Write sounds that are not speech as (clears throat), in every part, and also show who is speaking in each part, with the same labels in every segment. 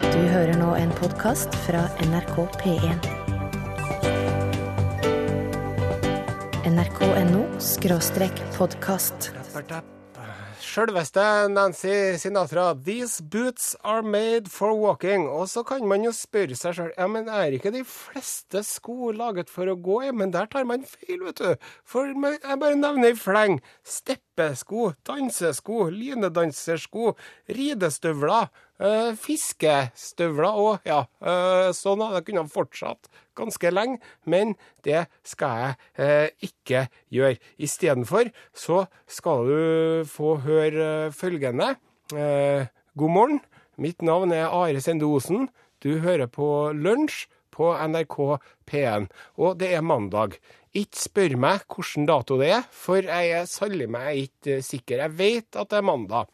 Speaker 1: Du hører nå en podkast fra NRK P1. NRK.no skråstrek podkast.
Speaker 2: Sjølveste Nancy Sinatra. 'These boots are made for walking'. Og så kan man jo spørre seg sjøl ja, men er ikke de fleste sko laget for å gå i? Men der tar man feil, vet du. For man- jeg bare nevner i fleng. Steppesko, dansesko, linedansersko, ridestøvler, eh, fiskestøvler og ja, eh, sånn. da. Jeg kunne ha fortsatt ganske lenge, men det skal jeg eh, ikke gjøre. Istedenfor så skal du få høre eh, følgende. Eh, god morgen. Mitt navn er Are Sende Osen. Du hører på Lunsj på NRK P1. Og det er mandag. Ikke spør meg hvilken dato det er, for jeg er sannelig meg ikke eh, sikker. Jeg vet at det er mandag.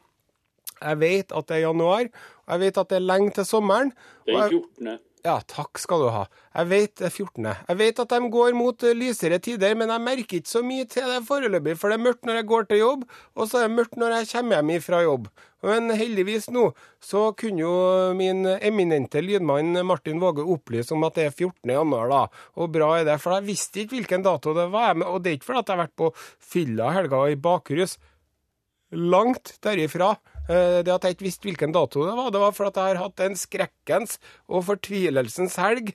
Speaker 2: Jeg vet at det er januar, og jeg vet at det er lenge til sommeren. og
Speaker 3: Den
Speaker 2: jeg-
Speaker 3: 14.
Speaker 2: ja, takk skal du ha. Jeg vet det er 14. Jeg vet at de går mot eh, lysere tider, men jeg merker ikke så mye til det foreløpig, for det er mørkt når jeg går til jobb, og så er det mørkt når jeg kommer hjem fra jobb. Men heldigvis nå så kunne jo min eminente lydmann Martin Våge opplyse om at det er 14. januar, da. Og bra er det, for jeg visste ikke hvilken dato det var, men- og det er ikke fordi at jeg har vært på fylla i helga og i bakrus langt derifra. Eh, Det at jeg ikke visste hvilken dato det var, det var fordi jeg har hatt en skrekkens og fortvilelsens helg.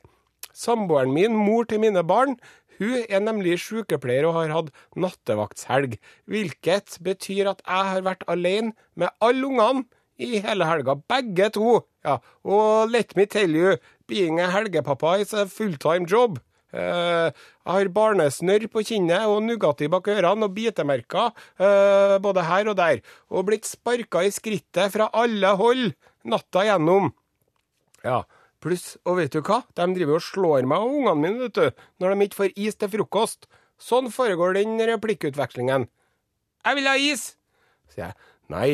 Speaker 2: Samboeren min, mor til mine barn, hun er nemlig sykepleier og har hatt nattevaktshelg. Hvilket betyr at jeg har vært alene med alle ungene i hele helga. Begge to. Ja, og let me tell you, being a helgepappa is a fulltime job. Eh, jeg har barnesnørr på kinnet og Nugatti bak ørene og bitemerker eh, både her og der. Og blitt sparka i skrittet fra alle hold natta gjennom. Ja. Pluss, og vet du hva? De driver og slår meg og ungene mine, vet du, når de ikke får is til frokost. Sånn foregår den replikkutvekslingen. Jeg vil ha is! sier jeg. Nei,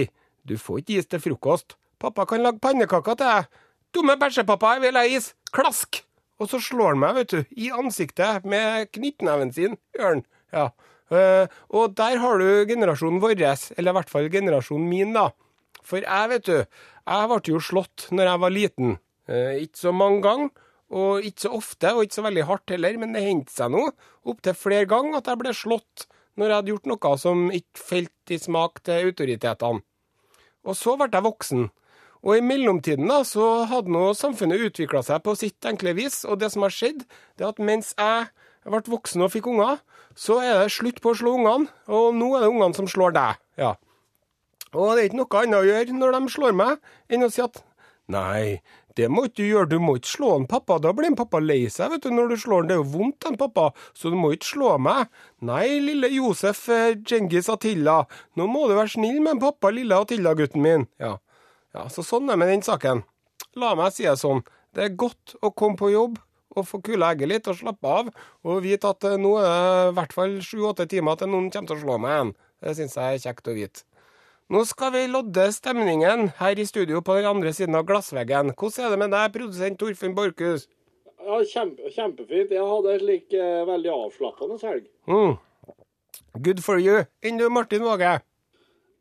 Speaker 2: du får ikke is til frokost. Pappa kan lage pannekaker til deg. Dumme bæsjepappa, jeg vil ha is! Klask! Og så slår han meg, vet du, i ansiktet med knyttneven sin, gjør han. Ja. Eh, og der har du generasjonen vår, eller i hvert fall generasjonen min, da. For jeg, vet du, jeg ble jo slått når jeg var liten. Eh, ikke så mange ganger, og ikke så ofte, og ikke så veldig hardt heller, men det hendte seg nå opptil flere ganger at jeg ble slått når jeg hadde gjort noe som ikke falt i smak til autoritetene. Og så ble jeg voksen. Og i mellomtiden da, så hadde nå samfunnet utvikla seg på sitt enkle vis, og det som har skjedd, det er at mens jeg ble voksen og fikk unger, så er det slutt på å slå ungene, og nå er det ungene som slår deg. Ja. Og det er ikke noe annet å gjøre når de slår meg, enn å si at nei, det må ikke du gjøre, du må ikke slå han pappa, da blir han pappa lei seg, vet du, når du slår han, det er jo vondt han pappa, så du må ikke slå meg. Nei, lille Josef eh, Djengis Atilla, nå må du være snill med han pappa, lille Atilla-gutten min. Ja. ja, så sånn er det med den saken. La meg si det sånn, det er godt å komme på jobb og få kula egget litt og slappe av, og vite at eh, nå er det i hvert fall sju-åtte timer til noen kommer til å slå meg igjen. Det syns jeg er kjekt å vite. Nå skal vi lodde stemningen her i studio på den andre siden av glassveggen. Hvordan er det med deg, produsent Torfinn Borchhus?
Speaker 3: Ja, kjempe, kjempefint. Jeg hadde en slik eh, veldig avslappende helg.
Speaker 2: Mm. Good for you. Enn du, Martin Våge?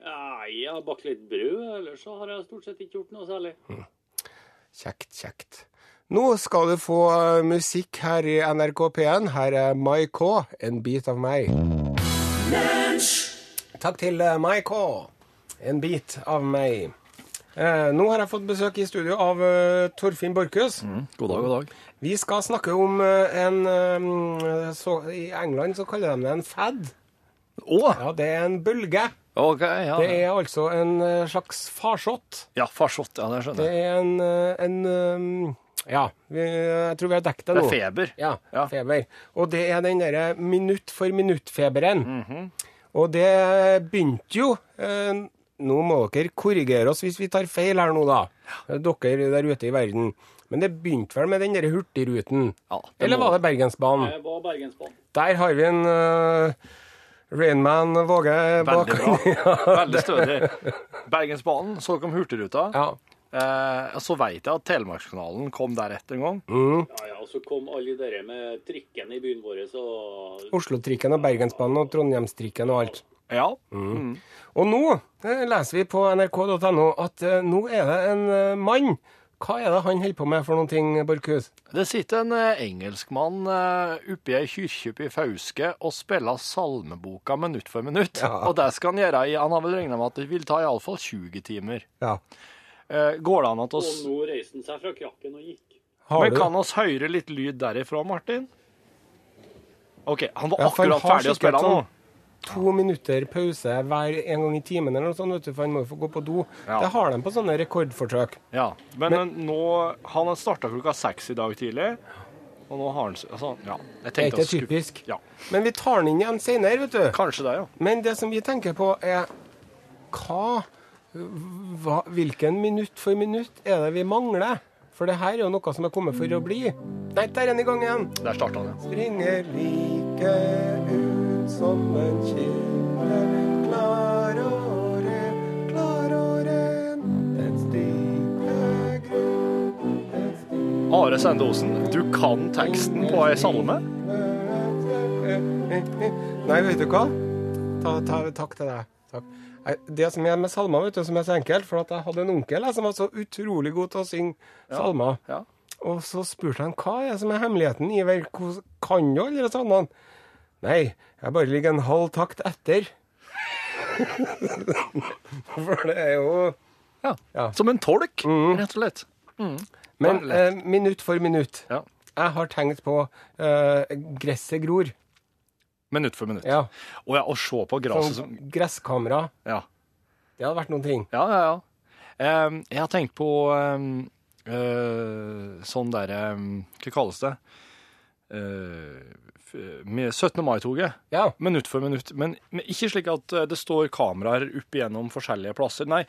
Speaker 3: Nei, jeg har bakt litt brød, ellers så har jeg stort sett ikke gjort noe særlig.
Speaker 4: Hm.
Speaker 2: Kjekt, kjekt. Nå skal du få eh, musikk her i NRK P1. Her er My K, en bit av meg. Takk til eh, My K, en bit av meg. Eh, nå har jeg fått besøk i studio av eh, Torfinn Borchhus.
Speaker 4: Mm, God dag, god dag.
Speaker 2: Vi skal snakke om eh, en eh, så, I England så kaller de det en fad.
Speaker 4: Å!
Speaker 2: Ja, det er en bølge.
Speaker 4: Ok, ja.
Speaker 2: Det er altså en eh, slags farsott.
Speaker 4: Ja, farsott. Ja, det
Speaker 2: Det
Speaker 4: skjønner jeg.
Speaker 2: er en, eh, en eh, Ja, vi, jeg tror vi har dekket det
Speaker 4: Det
Speaker 2: nå.
Speaker 4: er feber.
Speaker 2: Ja,
Speaker 4: Ja.
Speaker 2: feber. Og det er den derre minutt for minutt-feberen.
Speaker 4: Mhm.
Speaker 2: Og det begynte jo eh, Nå må dere korrigere oss hvis vi tar feil her nå, da. Dere der ute i verden. Men det begynte vel med den derre Hurtigruten?
Speaker 4: Ja, det
Speaker 2: Eller
Speaker 4: må-
Speaker 2: var det Bergensbanen?
Speaker 3: Jeg var Bergensbanen.
Speaker 2: Der har vi en uh, Rainman Våge bak.
Speaker 4: Veldig
Speaker 2: (laughs)
Speaker 4: bra. Veldig stødig. Bergensbanen, så kom Hurtigruta.
Speaker 2: Ja.
Speaker 4: Eh, så veit jeg at Telemarkskanalen kom deretter en gang.
Speaker 2: Mm.
Speaker 3: Ja, ja, og så kom alle dere med trikken i byen vår, så
Speaker 2: Oslo-trikken og Bergensbanen og Trondheimstrikken og alt.
Speaker 4: Ja.
Speaker 2: Mm. Og nå eh, leser vi på nrk.no at eh, nå er det en eh, mann Hva er det han holder på med for noen ting, Borchhus?
Speaker 4: Det sitter en eh, engelskmann eh, oppe i ei kirke oppe i Fauske og spiller salmeboka minutt for minutt.
Speaker 2: Ja.
Speaker 4: Og det skal han gjøre i Han har vel regna med at det vil ta iallfall 20 timer.
Speaker 2: Ja.
Speaker 4: Eh, går det an at
Speaker 3: Og
Speaker 4: oss
Speaker 3: nå reiste han seg fra krakken og gikk.
Speaker 2: Har
Speaker 4: Men
Speaker 2: du-
Speaker 4: kan oss høre litt lyd derifra, Martin? OK, han var
Speaker 2: Ja, for han
Speaker 4: akkurat
Speaker 2: har
Speaker 4: ferdig å
Speaker 2: sikkert
Speaker 4: spille nå.
Speaker 2: sånn- to minutter pause hver en gang i timen eller noe sånt, vet du, for han må jo få gå på do.
Speaker 4: Ja.
Speaker 2: Det har de på sånne rekordforsøk.
Speaker 4: Ja, men, eh, nå Han starta klokka seks i dag tidlig, og nå har han s- altså, Ja. Jeg
Speaker 2: Det er
Speaker 4: tenkte
Speaker 2: ikke
Speaker 4: å skru-
Speaker 2: typisk.
Speaker 4: Ja.
Speaker 2: Men vi tar den inn igjen senere, vet du.
Speaker 4: Kanskje det, ja.
Speaker 2: Men det som vi tenker på, er hva, hva Hvilken minutt for minutt er det vi mangler? For det her er jo noe som er kommet for å bli. Nei, der er den i gang igjen.
Speaker 4: Der starta han, ja.
Speaker 2: Springer like ut som en kilde. Klaråren, klaråren, den stiger grunn, den stiger
Speaker 4: Are Sende Osen, du kan teksten på ei salme?
Speaker 2: Nei, vet du hva? Ta, ta, takk til deg. Takk. Nei, Det som er med salmer, vet du, som er så enkelt For at jeg hadde en onkel jeg, som var så utrolig god til å synge salmer.
Speaker 4: Ja.
Speaker 2: Og så spurte han hva er det som er hemmeligheten, Iver? Hvordan kan du alle disse salmene? Nei, jeg bare ligger en halv takt etter. (laughs) For det er jo
Speaker 4: Ja.
Speaker 2: Ja. Mm.
Speaker 4: Som en tolk, rett og slett.
Speaker 2: Men
Speaker 4: Ja,
Speaker 2: eh, minutt for minutt.
Speaker 4: Ja.
Speaker 2: Jeg har tenkt på eh, gresset gror.
Speaker 4: Minutt for minutt.
Speaker 2: Ja.
Speaker 4: Og ja, å se på gresset som
Speaker 2: Sånn gresskamera.
Speaker 4: Ja,
Speaker 2: Det hadde vært noen ting.
Speaker 4: ja, ja. ja. Em, jeg har tenkt på em, eh, sånn derre Hva kalles det? Eh, f- med 17. mai-toget.
Speaker 2: Ja.
Speaker 4: Minutt for minutt. Men, men ikke slik at eh, det står kameraer opp igjennom forskjellige plasser. Nei,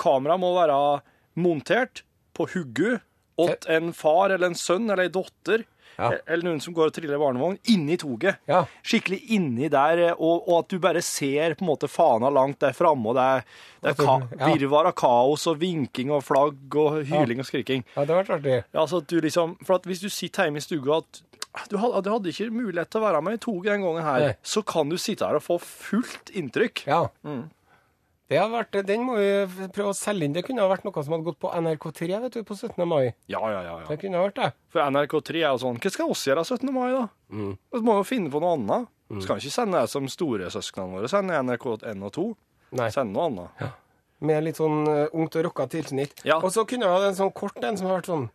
Speaker 4: kamera må være montert på hugget åt en far eller en sønn eller ei dotter.
Speaker 2: Ja.
Speaker 4: eh, Eller noen som går og triller barnevogn. Inni toget.
Speaker 2: Ja.
Speaker 4: Skikkelig inni der, eh, og, og at du bare ser på en måte fana langt der framme, og det er, det er ka
Speaker 2: Ja.
Speaker 4: virvar av kaos og vinking og flagg og hyling og skriking.
Speaker 2: ja, det hadde vært artig.
Speaker 4: Ja, altså at du liksom, for at Hvis du sitter hjemme i stua at du hadde, du hadde ikke mulighet til å være med i toget den gangen her,
Speaker 2: Nei.
Speaker 4: så kan du sitte her og få fullt inntrykk.
Speaker 2: Ja.
Speaker 4: Mm.
Speaker 2: Det har vært, den må vi f- prøve å selge inn. Det kunne ha vært noe som hadde gått på NRK3 vet du, på 17. mai.
Speaker 4: Ja, ja, ja. ja.
Speaker 2: Det kunne ha vært det.
Speaker 4: For NRK3 er jo sånn Hva skal oss gjøre 17. mai, da? Vi må jo finne på noe annet. Vi Skal ikke sende det som storesøsknene våre sender NRK1 og 2.
Speaker 2: Nei.
Speaker 4: Send noe annet.
Speaker 2: Med litt sånn eh, ungt og rocka tilsnitt.
Speaker 4: Ja.
Speaker 2: Og så kunne vi hatt en sånn kort en som har vært sånn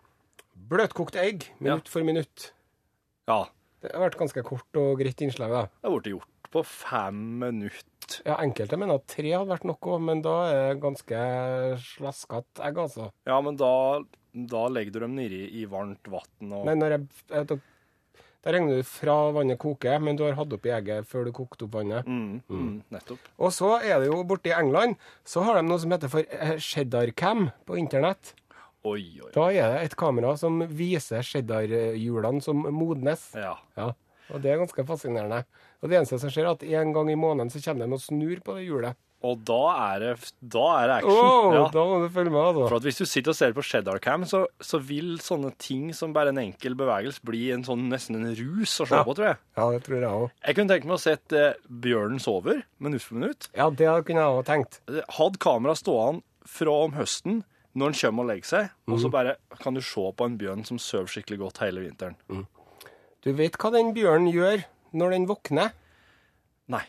Speaker 2: bløtkokt egg, minutt for minutt.
Speaker 4: Ja.
Speaker 2: Det har vært ganske kort og greit innslag. da.
Speaker 4: Det har blitt gjort på fem minutter.
Speaker 2: Ja, Enkelte mener at tre hadde vært noe, men da er det ganske slaskete egg, altså.
Speaker 4: Ja, men da, da legger du dem nedi i varmt vann og
Speaker 2: Nei, når jeg, jeg da, da regner du fra vannet koker, men du har hatt oppi egget før du kokte opp vannet.
Speaker 4: mm, mm, Nettopp.
Speaker 2: Og så er det jo borte i England, så har de noe som heter for eh, cheddarcam på internett.
Speaker 4: Oi, oi, oi.
Speaker 2: Da er det et kamera som viser cheddarhjulene som modnes.
Speaker 4: Ja.
Speaker 2: Ja, og det er ganske fascinerende. Og det eneste som skjer, er at en gang i måneden så kommer de og snur på det hjulet.
Speaker 4: Og da er det, da er det action.
Speaker 2: (laughs) Åh,
Speaker 4: ja.
Speaker 2: Da må du følge med,
Speaker 4: For
Speaker 2: altså.
Speaker 4: at Hvis du sitter og ser på Sheddarcam, så, så vil sånne ting som bare en enkel bevegelse bli en sånn, nesten en rus å se på, tror jeg.
Speaker 2: Ja, det tror jeg òg.
Speaker 4: Jeg kunne tenke meg å sett eh, Bjørnen sover minutt for minutt.
Speaker 2: Ja, det kunne jeg òg tenkt.
Speaker 4: Hadde kameraet stående fra om høsten når den kommer og legger seg, og så bare kan du se på en bjørn som sover skikkelig godt hele vinteren.
Speaker 2: Du vet hva den bjørnen gjør når den våkner?
Speaker 4: Nei.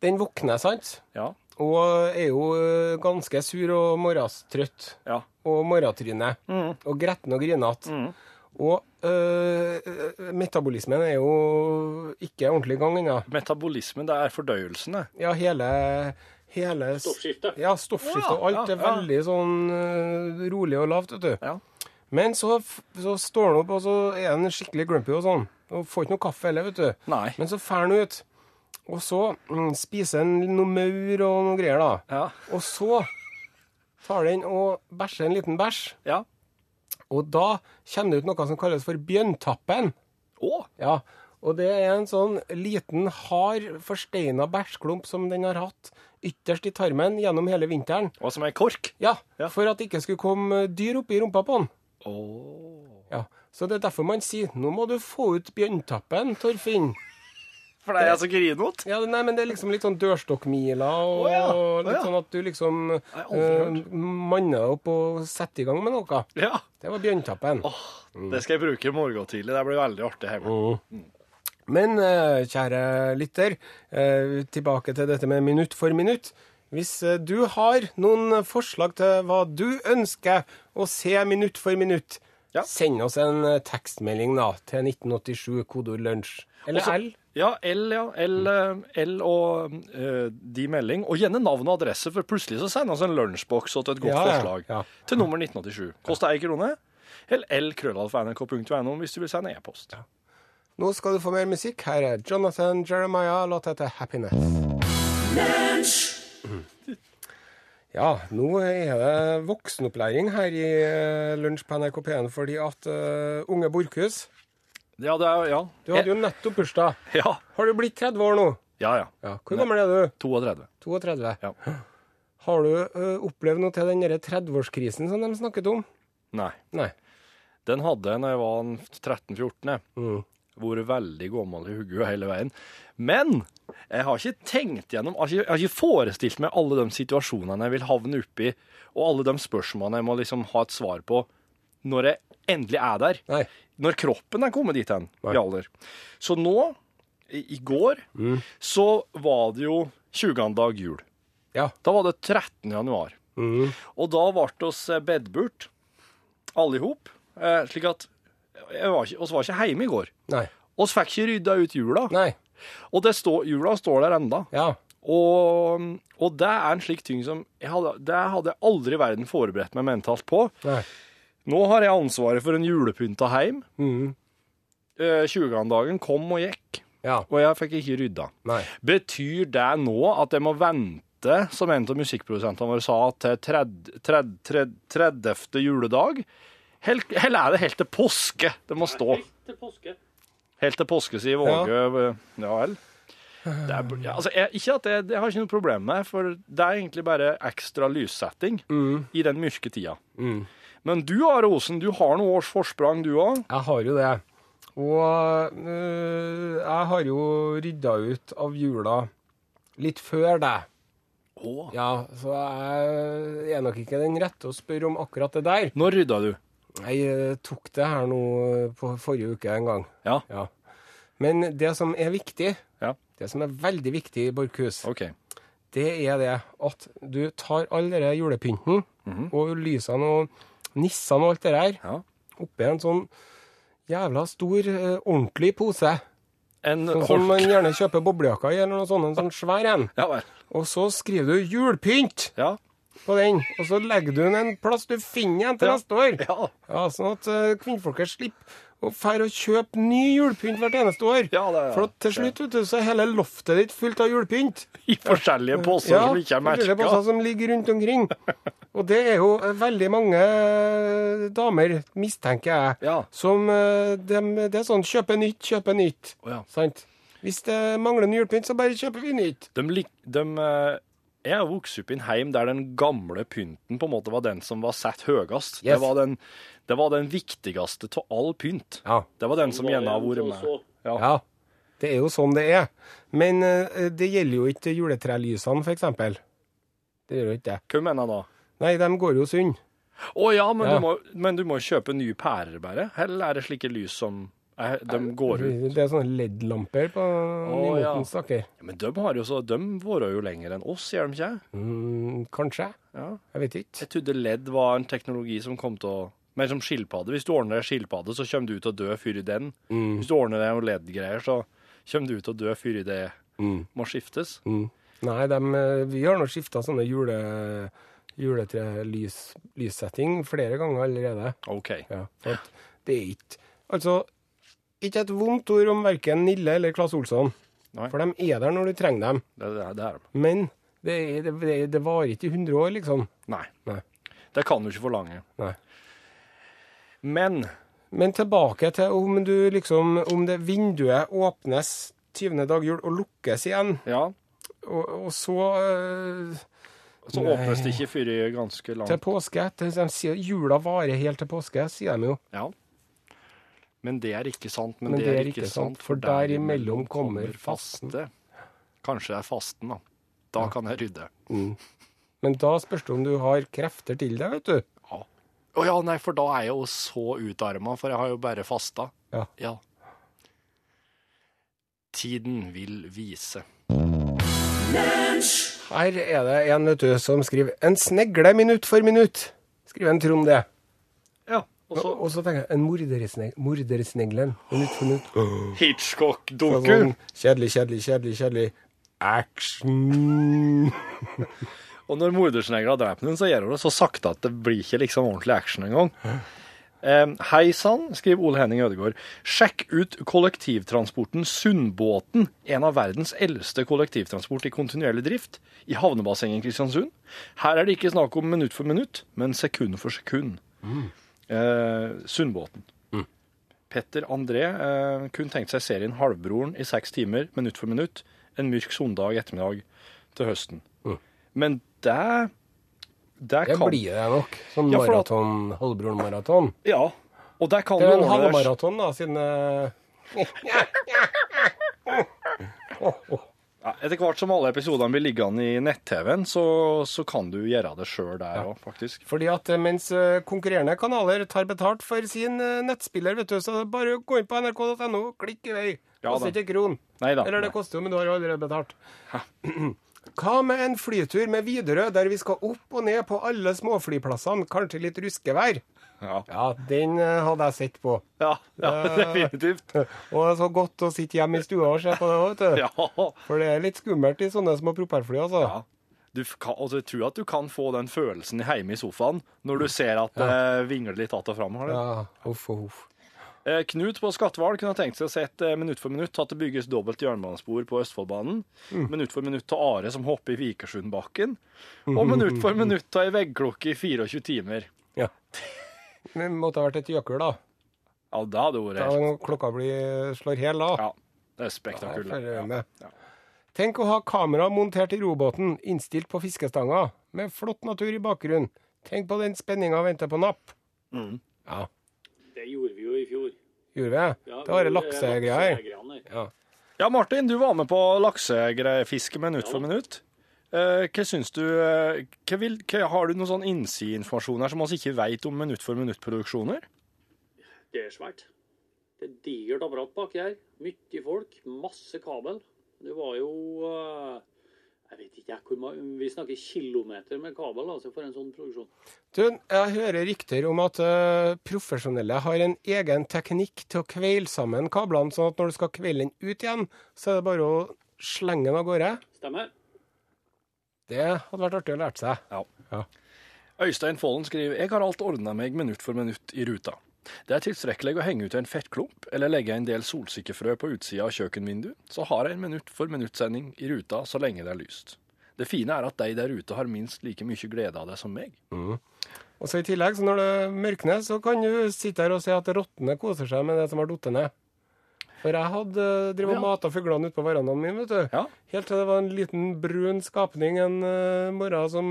Speaker 2: Den våkner, sant?
Speaker 4: Ja.
Speaker 2: Og er jo eh, ganske sur og morgenstrøtt.
Speaker 4: Ja.
Speaker 2: og morgentryne. Og gretten og grinete. Og øh, metabolismen er jo ikke ordentlig i gang ennå.
Speaker 4: Metabolismen, det er fordøyelsen, det.
Speaker 2: Ja, hele, hele s-
Speaker 3: Stoffskiftet.
Speaker 2: Ja, stoffskiftet og
Speaker 4: Å
Speaker 2: alt
Speaker 4: ja, ja,
Speaker 2: er
Speaker 4: ja.
Speaker 2: veldig sånn øh, rolig og lavt, vet du.
Speaker 4: Ja.
Speaker 2: Men så, f- så står han opp, og så er han skikkelig glumpy og sånn. Og får ikke noe kaffe heller, vet du.
Speaker 4: Nei.
Speaker 2: Men så drar han ut. Og så mm, spiser han noe maur og noe greier, da.
Speaker 4: Ja.
Speaker 2: Og så tar den og bæsjer en liten bæsj.
Speaker 4: ja.
Speaker 2: Og da kommer det ut noe som kalles for bjønntappen.
Speaker 4: Å!
Speaker 2: Ja, og det er en sånn liten, hard, forsteina bæsjklump som den har hatt ytterst i tarmen gjennom hele vinteren.
Speaker 4: Og som ei kork.
Speaker 2: Ja,
Speaker 4: Ja.
Speaker 2: for at det ikke skulle komme dyr oppi rumpa på den.
Speaker 4: Å.
Speaker 2: Ja, Så det er derfor man sier 'nå må du få ut bjønntappen, Torfinn'.
Speaker 4: For det er altså jeg så grinete.
Speaker 2: Ja, det- nei, men det er liksom litt sånn dørstokkmila, og,
Speaker 4: Å ja, å
Speaker 2: og litt
Speaker 4: ja.
Speaker 2: sånn at du liksom
Speaker 4: har aldri
Speaker 2: eh, manner deg opp og setter i gang med noe.
Speaker 4: Ja.
Speaker 2: Det var Bjørntappen.
Speaker 4: Det skal jeg bruke i morgen tidlig. Det blir veldig artig hjemme.
Speaker 2: Mm. Men eh, kjære lytter, eh, tilbake til dette med minutt for minutt. Hvis eh, du har noen forslag til hva du ønsker å se minutt for minutt,
Speaker 4: Ja.
Speaker 2: send oss en eh, tekstmelding da, til 1987 kodord lunsj. Eller
Speaker 4: Også-
Speaker 2: L.
Speaker 4: Ja, L, ja. L, eh, L og eh, de melding. Og gjerne navn og adresse, for plutselig så sender vi en lunsjboks og et godt
Speaker 2: Ja, ja,
Speaker 4: forslag.
Speaker 2: ja.
Speaker 4: Til nummer 1987. Koster ei krone. Eller lkrøllalfa.nrk.no hvis du vil sende e-post.
Speaker 2: Nå skal du få mer musikk. Her er Jonathan Jeremiah, låta heter 'Happiness'. Ja, nå er det voksenopplæring her i eh, Lunsj på NRK P1, fordi at eh, unge Borchhus
Speaker 4: Ja, det er Ja. E-
Speaker 2: Du hadde jo nettopp bursdag.
Speaker 4: Ja,
Speaker 2: Har du blitt 30 år nå?
Speaker 4: ja. ja.
Speaker 2: Hvor gammel er du?
Speaker 4: 32.
Speaker 2: 32.
Speaker 4: Ja.
Speaker 2: Har du ø, opplevd noe til den derre 30-årskrisen som de snakket om?
Speaker 4: Nei.
Speaker 2: Nei.
Speaker 4: Den hadde jeg når jeg var en 13-14. jeg.
Speaker 2: Mm.
Speaker 4: Vært veldig gammel i hodet hele veien. Men jeg har ikke tenkt gjennom Jeg har ikke, jeg har ikke forestilt meg alle de situasjonene jeg vil havne oppi, og alle de spørsmålene jeg må liksom ha et svar på når jeg endelig er der.
Speaker 2: Nei.
Speaker 4: Når kroppen er kommet dit hen
Speaker 2: Nei.
Speaker 4: i alder. Så nå, i, i går, så var det jo 20. dag jul.
Speaker 2: Ja.
Speaker 4: Da var det 13. januar.
Speaker 2: Mm.
Speaker 4: Og da ble oss bedburt, alle i hop. Eh, slik at jeg var ikke, oss var ikke hjemme i går.
Speaker 2: Nei.
Speaker 4: Oss fikk ikke rydda ut jula.
Speaker 2: Nei.
Speaker 4: Og det står- jula står der enda.
Speaker 2: Ja.
Speaker 4: Og, og det er en slik ting som jeg hadde, Det hadde jeg aldri i verden forberedt meg mentalt på.
Speaker 2: Nei.
Speaker 4: Nå har jeg ansvaret for en julepynta heim.
Speaker 2: Mm.
Speaker 4: Eh, 20-dagen kom og gikk,
Speaker 2: Ja.
Speaker 4: og jeg fikk ikke rydda.
Speaker 2: Nei.
Speaker 4: Betyr det nå at jeg må vente, som en av musikkprodusentene våre sa, til tred- tred- tred- 30. juledag? Helt- Eller er det helt til påske det må stå?
Speaker 3: Helt til påske.
Speaker 4: Helt til påske, sier Våge. Ja vel. Det er, ja, altså, jeg, ikke at jeg, jeg har ikke noe problem med, for det er egentlig bare ekstra lyssetting
Speaker 2: Mm.
Speaker 4: i den mørke tida. Men du, Are Osen, du har noen års forsprang, du òg.
Speaker 2: Jeg har jo det. Og ø, jeg har jo rydda ut av jula litt før deg. Ja, så jeg er nok ikke den rette å spørre om akkurat det der.
Speaker 4: Når rydda du?
Speaker 2: Jeg ø, tok det her nå ø, på forrige uke en gang.
Speaker 4: Ja,
Speaker 2: Ja. Men det som er viktig,
Speaker 4: Ja.
Speaker 2: det som er veldig viktig i Borkhus,
Speaker 4: OK.
Speaker 2: det er det at du tar all denne julepynten og lysene og nissene og alt det der
Speaker 4: Mhm. Ja.
Speaker 2: oppi en sånn jævla stor, eh, ordentlig pose.
Speaker 4: En
Speaker 2: Sånn som man gjerne kjøper boblejakker i, eller noe sånt, en sånn svær en.
Speaker 4: Ja vel.
Speaker 2: Og så skriver du 'julepynt'
Speaker 4: Ja.
Speaker 2: på den, og så legger du den en plass du finner en til
Speaker 4: Ja.
Speaker 2: neste år.
Speaker 4: Ja.
Speaker 2: Ja, sånn at eh, kvinnfolket slipper å fære og kjøpe ny julepynt hvert eneste år.
Speaker 4: Ja, det er-
Speaker 2: For at til slutt vet du, så er hele loftet ditt fullt av julepynt.
Speaker 4: (laughs) I forskjellige poser
Speaker 2: Ja,
Speaker 4: som ikke er
Speaker 2: forskjellige altså.
Speaker 4: merka.
Speaker 2: poser som ligger rundt omkring. Og det er jo eh, veldig mange eh, damer, mistenker jeg,
Speaker 4: Ja.
Speaker 2: som eh, dem, Det er sånn kjøpe nytt, kjøpe nytt.
Speaker 4: Å, ja.
Speaker 2: Sant? Hvis det mangler en julepynt, så bare kjøper vi nytt.
Speaker 4: De, lik- de, eh, jeg vokste opp i en heim der den gamle pynten på en måte var den som var satt høyest. Det,
Speaker 2: Yes.
Speaker 4: var den- det var den viktigste av all pynt.
Speaker 2: Ja.
Speaker 4: Det var den som
Speaker 3: Var
Speaker 4: gjerne har
Speaker 3: en
Speaker 4: vært
Speaker 3: som
Speaker 4: med.
Speaker 3: så-
Speaker 4: Ja.
Speaker 2: Ja, det er jo sånn det er. Men eh, det gjelder jo ikke juletrelysene, for eksempel. Det gjør jo ikke det.
Speaker 4: Hva mener jeg da?
Speaker 2: Nei, de går jo sund.
Speaker 4: Å ja, men,
Speaker 2: Ja.
Speaker 4: Du må, men du må kjøpe nye pærer, bare? Eller er det slike lys som er, De går ut
Speaker 2: Det er sånne LED-lamper på
Speaker 4: Å, ja.
Speaker 2: Nymotens stakker.
Speaker 4: ja, Men de har jo så De varer jo lenger enn oss, gjør de ikke?
Speaker 2: Mm, kanskje.
Speaker 4: Ja.
Speaker 2: Jeg vet ikke.
Speaker 4: Jeg trodde ledd var en teknologi som kom til å Mer som skilpadde. Hvis du ordner deg skilpadde, så kommer du til å dø før i den. Hvis du ordner deg noen ledd-greier, så kommer du til å dø før i det må skiftes.
Speaker 2: Mm. Nei, dem, eh, vi har nå skifta sånne jule, juletrelyssetting flere ganger allerede.
Speaker 4: OK.
Speaker 2: Ja, for at det er ikke Altså, ikke et vondt ord om verken Nille eller Claes Olsson.
Speaker 4: Nei.
Speaker 2: For de er der når du trenger dem.
Speaker 4: Det, det, er- det er de.
Speaker 2: Men det, er- det, det- det varer ikke i 100 år, liksom.
Speaker 4: Nei.
Speaker 2: Nei.
Speaker 4: Det kan du ikke forlange.
Speaker 2: Nei.
Speaker 4: Men
Speaker 2: Men tilbake til om du liksom Om det vinduet åpnes 20. dag jul og lukkes igjen,
Speaker 4: ja,
Speaker 2: og, og så eh,
Speaker 4: så
Speaker 2: Nei.
Speaker 4: åpnes det ikke før i ganske
Speaker 2: til
Speaker 4: langt
Speaker 2: påske til, De sier jula varer helt til påske, sier de jo.
Speaker 4: Ja. Men det er ikke sant, men,
Speaker 2: Men
Speaker 4: det er ikke sant, for der imellom kommer
Speaker 2: fasten.
Speaker 4: faste. Kanskje det er fasten, da. Da kan jeg rydde.
Speaker 2: Men da spørs det om du har krefter til deg, vet du.
Speaker 4: Ja. Å ja, nei, for da er jeg jo så utarma, for jeg har jo bare fasta.
Speaker 2: Ja.
Speaker 4: ja. Tiden vil vise.
Speaker 2: Her er det en vet du, som skriver 'En snegle minutt for minutt'. Skriver en Trond det.
Speaker 4: Ja, og så
Speaker 2: Og så tenker jeg 'En mordersne- mordersneglen minutt for minutt'. Og
Speaker 4: Hitchcock-doku.
Speaker 2: Sånn, kjedelig, kjedelig, kjedelig, kjedelig. Action!
Speaker 4: Og når mordersnegla dreper noen, så gjør hun det så sakte at det blir ikke liksom ordentlig action engang. Eh, Hei sann, skriver Ole Henning Ødegaard. Sjekk ut kollektivtransporten Sundbåten, en av verdens eldste kollektivtransport i kontinuerlig drift, i havnebassenget i Kristiansund. Her er det ikke snakk om minutt for minutt, men sekund for sekund.
Speaker 2: Mm.
Speaker 4: Eh, Sundbåten. Petter André eh, kun tenkte seg serien Halvbroren i seks timer, minutt for minutt, en mørk sondag ettermiddag til høsten. Men det Det
Speaker 2: Mm. Det
Speaker 4: kan
Speaker 2: blir det nok. Sånn
Speaker 4: Ja, for at-
Speaker 2: maraton, halvbroren-maraton.
Speaker 4: Ja. Og det kan
Speaker 2: Det er
Speaker 4: du
Speaker 2: en
Speaker 4: ordne deg-
Speaker 2: halvmaraton, da, siden eh,
Speaker 4: Ja, etter hvert som alle episodene blir liggende i nett-TV-en, så, så kan du gjøre det sjøl der òg, faktisk.
Speaker 2: Fordi at eh, mens eh, konkurrerende kanaler tar betalt for sin eh, nettspiller, vet du, så er det bare å gå inn på nrk.no, klikk i vei.
Speaker 4: Ja
Speaker 2: Koster
Speaker 4: da.
Speaker 2: ikke kron.
Speaker 4: Nei da,
Speaker 2: Eller det
Speaker 4: nei.
Speaker 2: koster jo, men du har jo allerede betalt. (clears throat) Hva med en flytur med Widerøe, der vi skal opp og ned på alle småflyplassene, kanskje litt ruskevær?
Speaker 4: Ja,
Speaker 2: Ja, den eh, hadde jeg sett på.
Speaker 4: ja, ja
Speaker 2: Eh.
Speaker 4: definitivt.
Speaker 2: Og det er så godt å sitte hjemme i stua og se på det òg, vet du.
Speaker 4: Ja.
Speaker 2: For det er litt skummelt i sånne små propellfly, altså.
Speaker 4: ja. Du f- kan, altså, jeg tror at du kan få den følelsen hjemme i sofaen når du ser at det vingler litt att og fram. har du?
Speaker 2: Ja, uff og uff.
Speaker 4: Eh, Knut på Skatval kunne ha tenkt seg å sett eh, minutt for minutt at det bygges dobbelt jernbanespor på Østfoldbanen.
Speaker 2: Mm.
Speaker 4: Minutt for minutt av Are som hopper i Vikersundbakken.
Speaker 2: (laughs)
Speaker 4: Og minutt for minutt av ei veggklokke i 24 timer.
Speaker 2: Ja. (laughs) Det måtte ha vært et gjøkul, da.
Speaker 4: Ja, det hadde vært
Speaker 2: Ja,
Speaker 4: helt
Speaker 2: når klokka blir, slår hel, da.
Speaker 4: Ja,
Speaker 2: Ja, eh,
Speaker 4: det er
Speaker 2: jeg
Speaker 4: spektakulært.
Speaker 2: følger med.
Speaker 4: Ja.
Speaker 2: Tenk å ha kamera montert i robåten, innstilt på fiskestanga, med flott natur i bakgrunnen. Tenk på den spenninga og vente på napp. Ja,
Speaker 3: Det gjorde vi jo i fjor.
Speaker 2: gjorde vi?
Speaker 3: Ja,
Speaker 2: det var
Speaker 3: vi
Speaker 2: det
Speaker 3: gjorde
Speaker 2: laksegreier.
Speaker 3: laksegreiene.
Speaker 4: Ja, Martin, du var med på laksegreifiske minutt for minutt. Eh, hva syns du eh, hva vil, hva, Har du noen sånn innsideinformasjon her som vi ikke veit om minutt for minutt-produksjoner?
Speaker 3: Det er svært. Det er digert apparat baki her. Mye folk, masse kabel. Det var jo eh, Jeg vet ikke jeg, hvor mange Vi snakker kilometer med kabel altså, for en sånn produksjon.
Speaker 2: Du, jeg hører rykter om at eh, profesjonelle har en egen teknikk til å kveile sammen kablene, sånn at når du skal kveile den ut igjen, så er det bare å slenge den av gårde.
Speaker 3: Stemmer?
Speaker 2: Det hadde vært artig å lære seg.
Speaker 4: Ja.
Speaker 2: Ja.
Speaker 4: Øystein Follen skriver Jeg har alt ordna meg minutt for minutt i ruta. Det er tilstrekkelig å henge ut en fettklump eller legge en del solsikkefrø på utsida av kjøkkenvinduet, så har jeg en minutt for minutt-sending i ruta så lenge det er lyst. Det fine er at de der ute har minst like mye glede av det som meg.
Speaker 2: Og så I tillegg, så når det mørkner, så kan du sitte her og se at rottene koser seg med det som har falt ned. For jeg hadde eh, drevet og
Speaker 4: Ja.
Speaker 2: mata fuglene ute på verandaen min, vet du.
Speaker 4: Ja.
Speaker 2: Helt til det var en liten brun skapning en eh, morgen som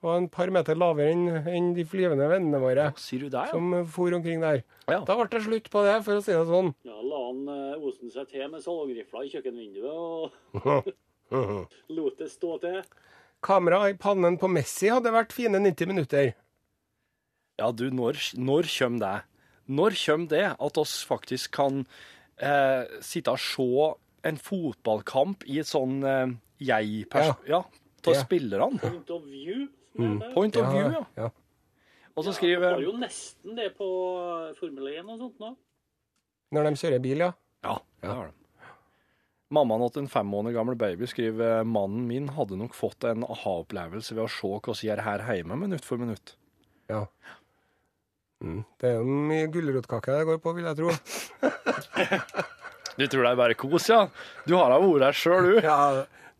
Speaker 2: var en par meter lavere enn enn de flyvende vennene våre.
Speaker 4: Sier du det? ja?
Speaker 2: Som eh, for omkring der.
Speaker 4: Ja.
Speaker 2: Da ble det slutt på det, for å si det sånn.
Speaker 3: Ja, la han eh, osen seg til med salongrifla i kjøkkenvinduet og (laughs) lot det stå til.
Speaker 2: Kamera i pannen på Messi hadde vært fine 90 minutter.
Speaker 4: Ja, du, når, når kommer det? Når kommer det at oss faktisk kan eh, sitte og se en fotballkamp i et sånn eh, jeg-pers... Ja, til
Speaker 2: Ja.
Speaker 4: spillerne.
Speaker 3: Point of view. som det heter.
Speaker 4: Point of view, ja.
Speaker 2: ja.
Speaker 4: Og
Speaker 3: Det
Speaker 4: så
Speaker 3: var
Speaker 4: skriver
Speaker 3: jo nesten det på eh, Formel 1 og sånt nå.
Speaker 2: Når de kjører bil, ja.
Speaker 4: Ja, det har de. Mammaen til en fem måneder gammel baby skriver eh, mannen min hadde nok fått en aha-opplevelse ved å se hva vi gjør her hjemme minutt for minutt.
Speaker 2: Ja. Mm, Det er jo mye gulrotkake det går på, vil jeg tro.
Speaker 4: Du tror det er bare kos, ja? Du har da vært her sjøl, du.
Speaker 2: Ja,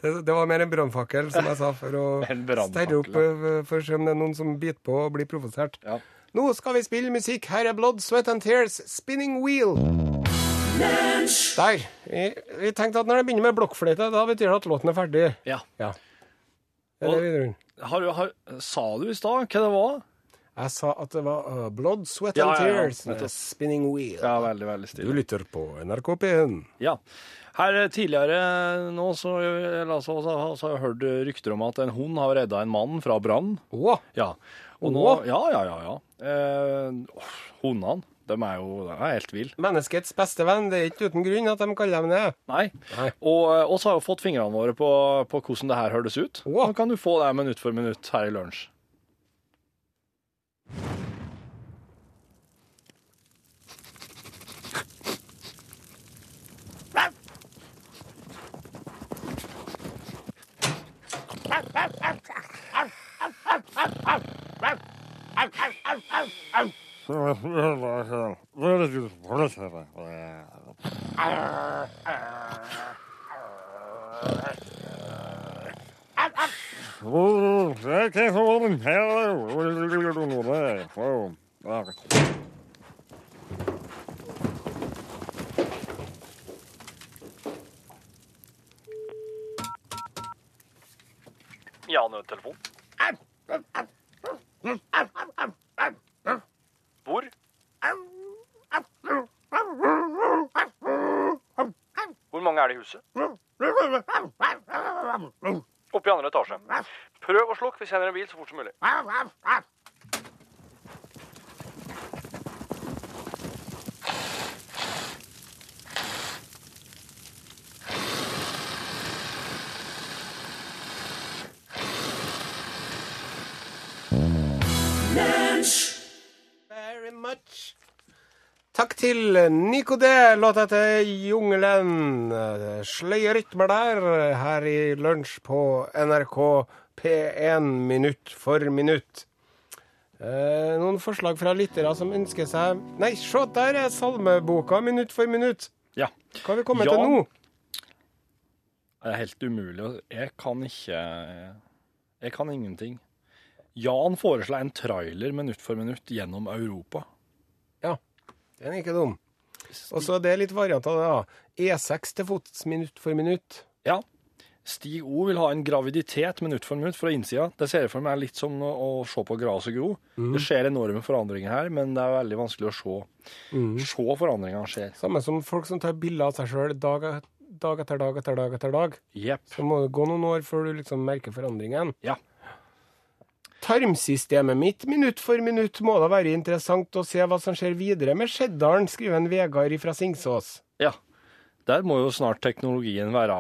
Speaker 2: det, det var mer en brannfakkel, som jeg sa, for å
Speaker 4: (laughs) En brannfakkel,
Speaker 2: sterre opp eh, for å se om det er noen som biter på og blir provosert.
Speaker 4: Ja.
Speaker 2: Nå skal vi spille musikk. Her er Blood, Sweat and Tears, 'Spinning Wheel'. Der. Vi, vi tenkte at når det begynner med blokkfløyte, da betyr det at låten er ferdig.
Speaker 4: ja.
Speaker 2: Eller videre.
Speaker 4: Har, du- har, sa du i stad hva det var?
Speaker 2: Jeg sa at det var uh, Blood, Sweat
Speaker 4: Ja,
Speaker 2: and
Speaker 4: ja, ja,
Speaker 2: Tears med
Speaker 4: nettopp.
Speaker 2: Spinning Wheel.
Speaker 4: Ja, veldig, veldig
Speaker 2: Du
Speaker 4: stilig.
Speaker 2: lytter på NRK P1.
Speaker 4: Ja. Her eh, tidligere nå så, eller, altså, så, så har jeg hørt rykter om at en hund har redda en mann fra brann.
Speaker 2: Å,
Speaker 4: Ja. Og nå,
Speaker 2: Åh.
Speaker 4: ja, ja, ja, ja. Eh, åh, hundene, de er jo de er helt ville.
Speaker 2: menneskets beste venn. Det er ikke uten grunn at de kaller dem det.
Speaker 4: Nei.
Speaker 2: Nei.
Speaker 4: Og eh, oss har jo fått fingrene våre på, på hvordan det her høres ut.
Speaker 2: Åh.
Speaker 4: Nå kan du få det minutt for minutt her i lunsj. Ja, nødtelefon. Hvor? Hvor mange er det i huset? Oppe i andre etasje. Prøv å slukke hvis jeg kjenner en bil så fort som mulig.
Speaker 2: Very much. Takk til eh, Nico D. Låta til Jungelen. Sløye rytmer der eh, her i lunsj på NRK P1 minutt for minutt. Eh, noen forslag fra lyttere som ønsker seg Nei, se der er salmeboka minutt for minutt.
Speaker 4: Ja.
Speaker 2: Hva har vi kommet
Speaker 4: Ja.
Speaker 2: til nå?
Speaker 4: Det er helt umulig. å- Jeg kan ikke Jeg kan ingenting. Jan foresla en trailer minutt for minutt gjennom Europa.
Speaker 2: Ja, den er ikke dum. Og så er det litt variant av det, da. E6 til fots minutt for minutt.
Speaker 4: Ja. Stig O vil ha en graviditet minutt for minutt fra innsida. Det ser jeg for meg er litt som å å se på gras og gro. Det skjer enorme forandringer her, men det er veldig vanskelig å se, se forandringene skjer.
Speaker 2: Samme som folk som tar bilder av seg sjøl dag, et- dag etter dag etter dag etter dag.
Speaker 4: Jepp.
Speaker 2: Så må det gå noen år før du liksom merker forandringen.
Speaker 4: Ja.
Speaker 2: Tarmsystemet mitt minutt for minutt må da være interessant å se hva som skjer videre med Skjeddalen, skriver en Vegard fra Singsås.
Speaker 4: ja. Der må jo snart teknologien være,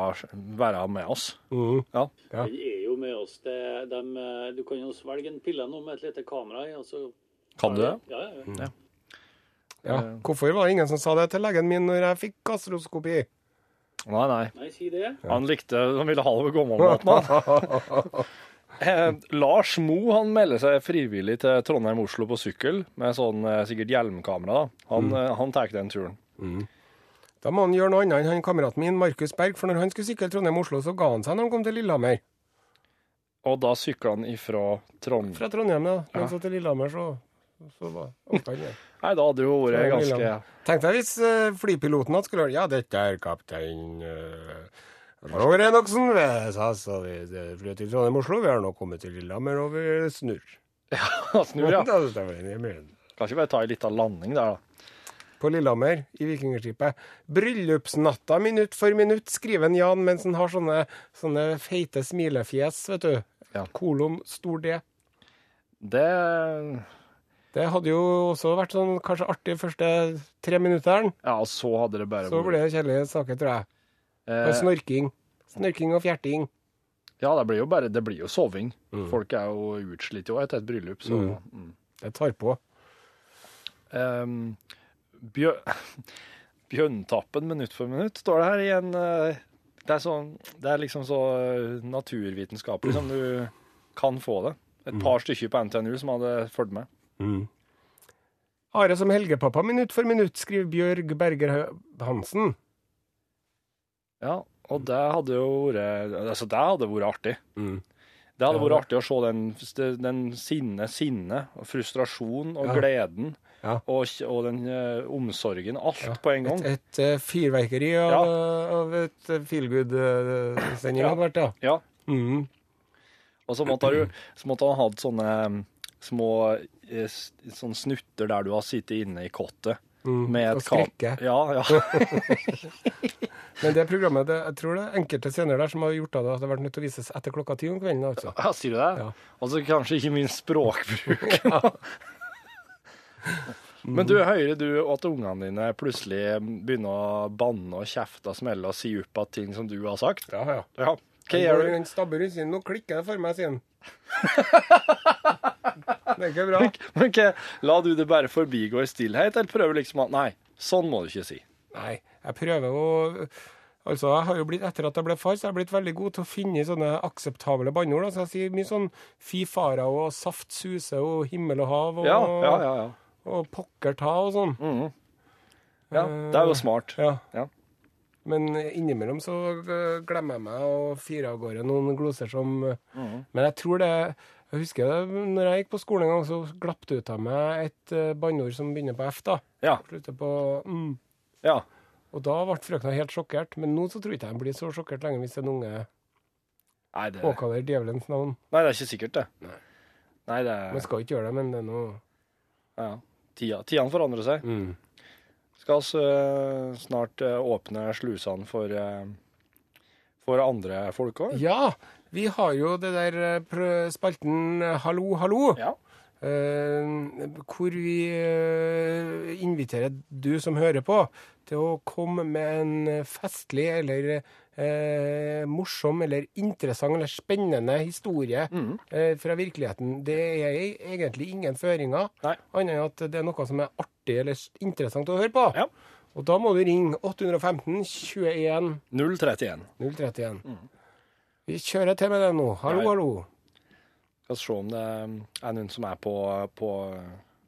Speaker 4: være med oss. Ja.
Speaker 2: Ja.
Speaker 3: Den er jo med oss. Det, dem, eh, du kan jo svelge en pille nå med et lite kamera i. og så-
Speaker 4: Kan du det?
Speaker 3: Ja, ja, ja.
Speaker 2: Ja. Hvorfor var det ingen som sa det til legen min når jeg fikk gastroskopi?
Speaker 4: Nei, nei.
Speaker 3: Nei, si det.
Speaker 4: Han likte Han ville ha det ved gammelmaten, han. Eh, Lars Mo han melder seg frivillig til Trondheim-Oslo på sykkel, med sånn eh, sikkert hjelmkamera. da. Han, eh, han tar den turen.
Speaker 2: Da må han gjøre noe annet enn han kameraten min, Markus Berg, for når han skulle sykle Trondheim-Oslo, så ga han seg når han kom til Lillehammer.
Speaker 4: Og da sykla han ifra Trondheim.
Speaker 2: Fra Trondheim, da. Men så til Lillehammer, så, så var oppe han igjen.
Speaker 4: Nei, da hadde jo vært
Speaker 2: Fra
Speaker 4: ganske (laughs)
Speaker 2: Lillehammer. Tenk deg hvis eh, flypiloten hadde skulle hørt Ja, dette er kaptein eh, Roger Enoksen ved SAS, og vi eh, flyr til Trondheim-Oslo. Vi har nå kommet til Lillehammer, og vi snur.
Speaker 4: Snur, ja.
Speaker 2: (laughs) Da stemmer det inn i munnen.
Speaker 4: Kan ikke bare ta en liten landing der, da.
Speaker 2: På Lillehammer, i Vikingskipet. Bryllupsnatta minutt for minutt, skriver en Jan mens han har sånne, sånne feite smilefjes, vet du.
Speaker 4: Ja.
Speaker 2: Kolom stor D.
Speaker 4: Det
Speaker 2: Det hadde jo også vært sånn kanskje artig første tre minutteren.
Speaker 4: Ja, og så hadde det bare
Speaker 2: Så ble det kjedelige saker, tror jeg. Og
Speaker 4: eh,
Speaker 2: snorking. Snorking og fjerting.
Speaker 4: Ja, det blir jo bare Det blir jo soving.
Speaker 2: Mm.
Speaker 4: Folk er jo utslitt jo etter et bryllup, så mm.
Speaker 2: Det tar på.
Speaker 4: Ehm, bjø (laughs) Bjønntappen minutt for minutt står det her i en eh, det, er sånn, det er liksom så eh, naturvitenskapelig som du kan få det. Et
Speaker 2: Mm.
Speaker 4: par stykker på NTNU som hadde fulgt med.
Speaker 2: Are som helgepappa minutt for minutt, skriver Bjørg Berger Hø- Hansen.
Speaker 4: Ja, og det hadde jo vært altså det hadde vært artig.
Speaker 2: Mm.
Speaker 4: Det hadde
Speaker 2: Ja,
Speaker 4: vært artig å se den, den sinne, sinne, og frustrasjon og
Speaker 2: Ja.
Speaker 4: gleden
Speaker 2: Ja.
Speaker 4: og, og den eh, omsorgen. Alt på en gang.
Speaker 2: Et, et eh, fyrverkeri av,
Speaker 4: Ja.
Speaker 2: av et eh, feelgood-sending
Speaker 4: Ja.
Speaker 2: hadde vært, ja.
Speaker 4: Ja.
Speaker 2: Mm.
Speaker 4: Og så måtte, du, så måtte han hatt sånne um, mm, små eh, s- sånn snutter der du har sittet inne i kottet.
Speaker 2: Mm, og skrekke.
Speaker 4: Ja,
Speaker 2: (laughs)
Speaker 4: ja.
Speaker 2: Men det programmet, det, jeg tror det er enkelte scener der som har gjort av det at det har vært nødt til å vises etter klokka ti om kvelden. altså.
Speaker 4: ja sier du det?
Speaker 2: Ja.
Speaker 4: Og så kanskje ikke minst
Speaker 2: (laughs)
Speaker 4: språkbruk. Men du, hører du at ungene dine plutselig begynner å banne og kjefte og smelle og si opp at ting som du har sagt?
Speaker 2: Ja, ja.
Speaker 4: Ja. Hva
Speaker 2: Når
Speaker 4: gjør du?
Speaker 2: Den stabber rundt siden. Nå klikker det for meg,
Speaker 4: (laughs)
Speaker 2: sier han. Det er ikke bra.
Speaker 4: Men hva, La du det bare forbigå i stillhet, eller prøver du liksom at Nei, sånn må du ikke si.
Speaker 2: Nei, jeg prøver å Altså, jeg har jo blitt, Etter at jeg ble far, så har jeg blitt veldig god til å finne sånne akseptable banneord. da. Så jeg sier mye sånn fy fara og saft suse og himmel og hav og,
Speaker 4: Ja, ja, ja. ja.
Speaker 2: og pokker ta og sånn.
Speaker 4: ja det er jo smart.
Speaker 2: Ja.
Speaker 4: Ja.
Speaker 2: Men innimellom så eh, glemmer jeg meg og firer av gårde noen gloser som eh,
Speaker 4: Mm.
Speaker 2: Men jeg tror det Jeg husker det, når jeg gikk på skolen en gang, så glapp det ut av meg et eh, banneord som begynner på F, da.
Speaker 4: Ja.
Speaker 2: Slutter på mm.
Speaker 4: ja.
Speaker 2: Og da ble frøkna helt sjokkert. Men nå så tror jeg ikke jeg blir så sjokkert lenger hvis en unge
Speaker 4: Nei, det, nei,
Speaker 2: påkaller djevelens navn.
Speaker 4: det er ikke sikkert, det. Nei, det
Speaker 2: Man
Speaker 4: er
Speaker 2: skal ikke gjøre det, men det er noe
Speaker 4: ja. Tida- Tidene forandrer seg.
Speaker 2: mm.
Speaker 4: Skal vi snart eh, åpne slusene for, eh, for andre folk òg?
Speaker 2: Ja! Vi har jo det der eh, prø- spalten eh, Hallo, hallo.
Speaker 4: Ja.
Speaker 2: Eh, hvor vi eh, inviterer du som hører på, til å komme med en festlig eller eh, morsom eller interessant eller spennende historie
Speaker 4: Mm.
Speaker 2: eh, fra virkeligheten. Det er egentlig ingen føringer,
Speaker 4: Nei.
Speaker 2: annet enn at det er noe som er artig eller s- interessant å høre på.
Speaker 4: Ja.
Speaker 2: Og da må du ringe 815 21
Speaker 4: 031.
Speaker 2: 031. Vi kjører til med det nå. Hallo,
Speaker 4: Mm. Ja, ja.
Speaker 2: hallo.
Speaker 4: Skal vi se om det er noen som er på, på,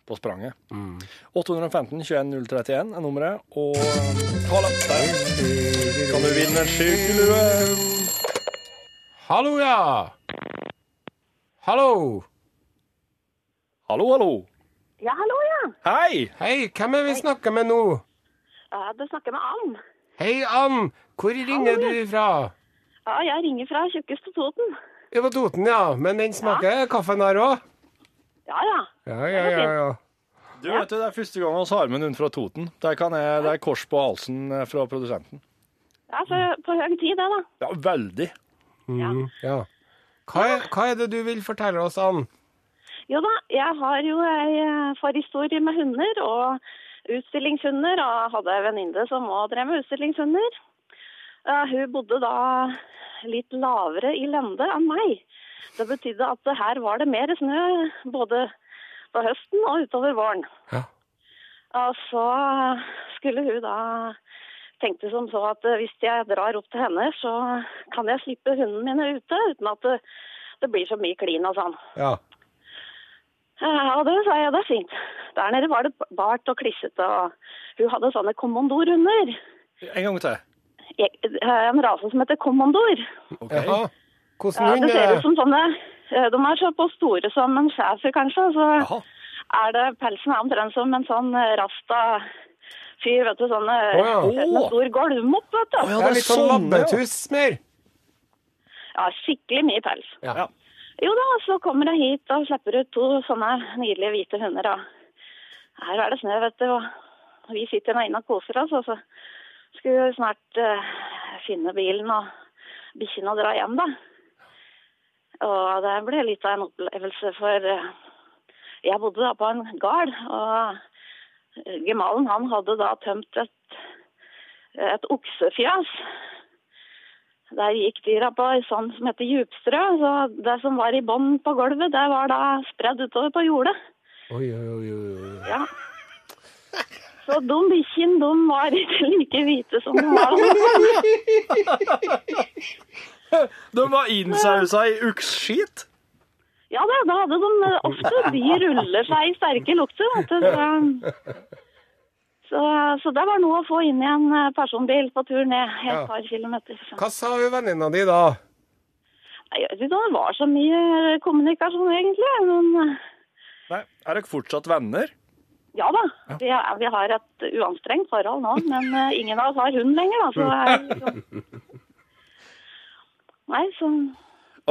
Speaker 4: på spranget.
Speaker 2: Mm.
Speaker 4: 815 21 031 er nummeret, og Kala, der kan du vinne en skyggelue.
Speaker 2: Hallo, ja! Hallo!
Speaker 4: Hallo, hallo.
Speaker 5: Ja, hallo, ja.
Speaker 4: Hei!
Speaker 2: Hei, hvem er vi snakker med nå?
Speaker 5: ja du snakker med Ann.
Speaker 2: Hei, Ann! Hvor ringer du ifra?
Speaker 5: Ja, jeg ringer fra tjukkeste Toten.
Speaker 2: Ja, på Toten, ja. Men den smaker kaffen der òg?
Speaker 5: Ja, ja.
Speaker 2: Ja, ja, ja. ja.
Speaker 4: Du vet du, Det er første gang vi har med noen fra Toten. Der kan jeg, det er kors på halsen eh, fra produsenten.
Speaker 5: Ja, for, på høy tid, det, da.
Speaker 4: Ja, Veldig.
Speaker 2: Mm, ja. Hva, er, hva er det du vil fortelle oss, Ann?
Speaker 5: Jo da, jeg har jo ei eh, forhistorie med hunder og utstillingshunder, og hadde ei venninne som òg drev med utstillingshunder. Eh, hun bodde da litt lavere i lende enn meg. Det betydde at det her var det mer snø både på høsten og utover våren.
Speaker 2: Ja.
Speaker 5: Og så skulle hun da tenkte som så at eh, hvis jeg drar opp til henne, så kan jeg slippe hundene mine ute uten at det, det blir så mye klin og sånn.
Speaker 2: ja.
Speaker 5: Ja, og det sa jeg, det er fint. Der nede var det bart og klissete, og hun hadde sånne kommandorhunder.
Speaker 4: En gang til.
Speaker 5: Jeg- eh, En rase som heter kommandor.
Speaker 4: Ok.
Speaker 2: Jaha. Hvordan
Speaker 5: Ja,
Speaker 2: hund
Speaker 5: det ser
Speaker 2: er
Speaker 5: ut
Speaker 2: det?
Speaker 5: som sånne, eh, de er så på store som en schæfer kanskje, og så
Speaker 4: Jaha.
Speaker 5: er det, pelsen er omtrent som en sånn eh, rasta fyr, vet du, sånn eh,
Speaker 2: Å, ja.
Speaker 5: med stor golvmopp, vet du.
Speaker 4: ja,
Speaker 2: Det er litt sånn labbetuss mer.
Speaker 5: Ja, skikkelig mye pels.
Speaker 2: Ja.
Speaker 4: Ja.
Speaker 5: Jo da, så kommer jeg hit og slipper ut to sånne nydelige hvite hunder. Og her er det snø, vet du. Og vi sitter nå inne og koser oss, og så skulle vi snart eh, finne bilen og bikkjene og dra hjem, da. Og det ble litt av en opplevelse, for eh, jeg bodde da på en gard, og eh, gemalen han hadde da tømt et, eh, et oksefjøs. Der gikk dyra på ei sånn som heter djupstrø, så det som var i bånn på gulvet, det var da spredd utover på jordet.
Speaker 2: Oi, oi, oi, oi, oi.
Speaker 5: Ja. Så de bikkjene, de var ikke like hvite som de var. da.
Speaker 4: De var innsausa i uksskit.
Speaker 5: Ja da, da hadde de eh, ofte De ruller seg i sterke lukter, vet du. Så, så, så det var noe å få inn i en eh, personbil på tur ned
Speaker 2: Ja.
Speaker 5: et par kilometer. Så.
Speaker 2: Hva sa hun venninna di da?
Speaker 5: Nei, jeg vet ikke om Det var så mye kommunikasjon, egentlig. men... eh,
Speaker 4: Nei, Er dere fortsatt venner?
Speaker 5: Ja da, vi, er, vi har et uanstrengt forhold nå, men eh, ingen av oss har hund lenger, da. Så det er liksom... Nei, så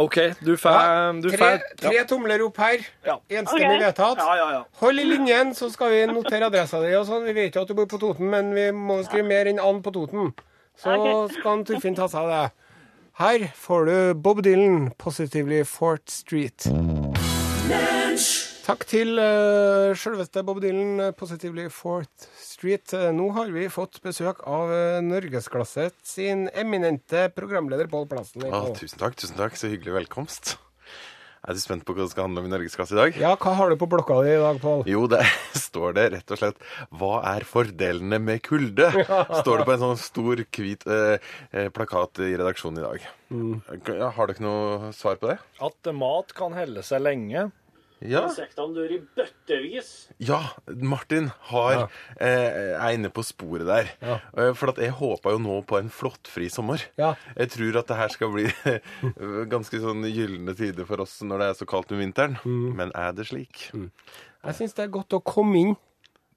Speaker 4: OK, du får du
Speaker 2: Tre,
Speaker 4: får- ja.
Speaker 2: tre tomler opp her.
Speaker 4: Ja.
Speaker 2: Enstemmig
Speaker 5: Ok.
Speaker 2: vedtatt.
Speaker 4: Ja, ja, ja.
Speaker 2: Hold i linjen, så skal vi notere adressa di. og sånn. Vi vet jo at du bor på Toten, men vi må skrive mer enn and på Toten. Så
Speaker 5: Ok.
Speaker 2: skal han Torfinn ta seg av det. Her får du Bob Dylan, 'Positively Fort Street'. Takk til eh, selveste Bob Dylan, eh, 'Positively Fort Street'. Eh, nå har vi fått besøk av uh, norgesklasse sin eminente programleder Pål Plassen.
Speaker 6: Å, tusen takk, tusen takk. Så hyggelig velkomst. Er du spent på hva det skal handle om i Norgesklasse i dag?
Speaker 2: Ja, hva har du på blokka di i dag, Pål?
Speaker 6: Jo, der står det (laughs) rett og slett 'Hva er fordelene med kulde?' Står det på en sånn stor, hvit eh, eh, plakat i redaksjonen i dag. Ja, har dere noe svar på det?
Speaker 4: At eh, mat kan helle seg lenge.
Speaker 6: Ja.
Speaker 3: Insektene dør i bøttevis.
Speaker 6: Ja, Martin har, eh, er inne på sporet der. Eh, For at jeg håpa jo nå på en flåttfri sommer.
Speaker 2: Ja.
Speaker 6: Jeg tror at det her skal bli (laughs) ganske sånn gylne tider for oss når det er så kaldt om vinteren. Men er det slik?
Speaker 2: Jeg syns det er godt å komme inn.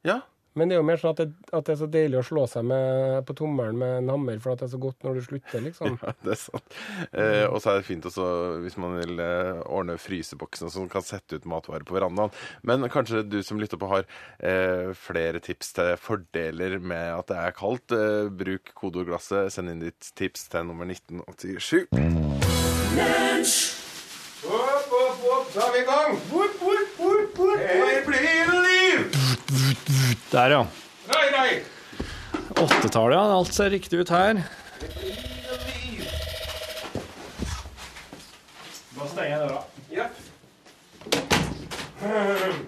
Speaker 6: Ja.
Speaker 2: Men det er jo mer sånn at det, at det er så deilig å slå seg med, på tommelen med en hammer, for at det er så godt når du slutter, liksom.
Speaker 6: (laughs) Ja, det er sant. Eh, og så er det fint også hvis man vil eh, ordne fryseboksen som kan sette ut matvarer på verandaen. Men kanskje du som lytter på har eh, flere tips til fordeler med at det er kaldt. Eh, bruk kodeordglasset. Send inn ditt tips til nummer 1987.
Speaker 2: Opp, opp, opp, da er vi i gang! Bort, bort, bort, bort! Her blir det liv!
Speaker 4: Der, ja.
Speaker 2: Nei, nei!
Speaker 4: Åttetallet, ja. Alt ser riktig ut her. Nå stenger jeg døra.
Speaker 2: Ja.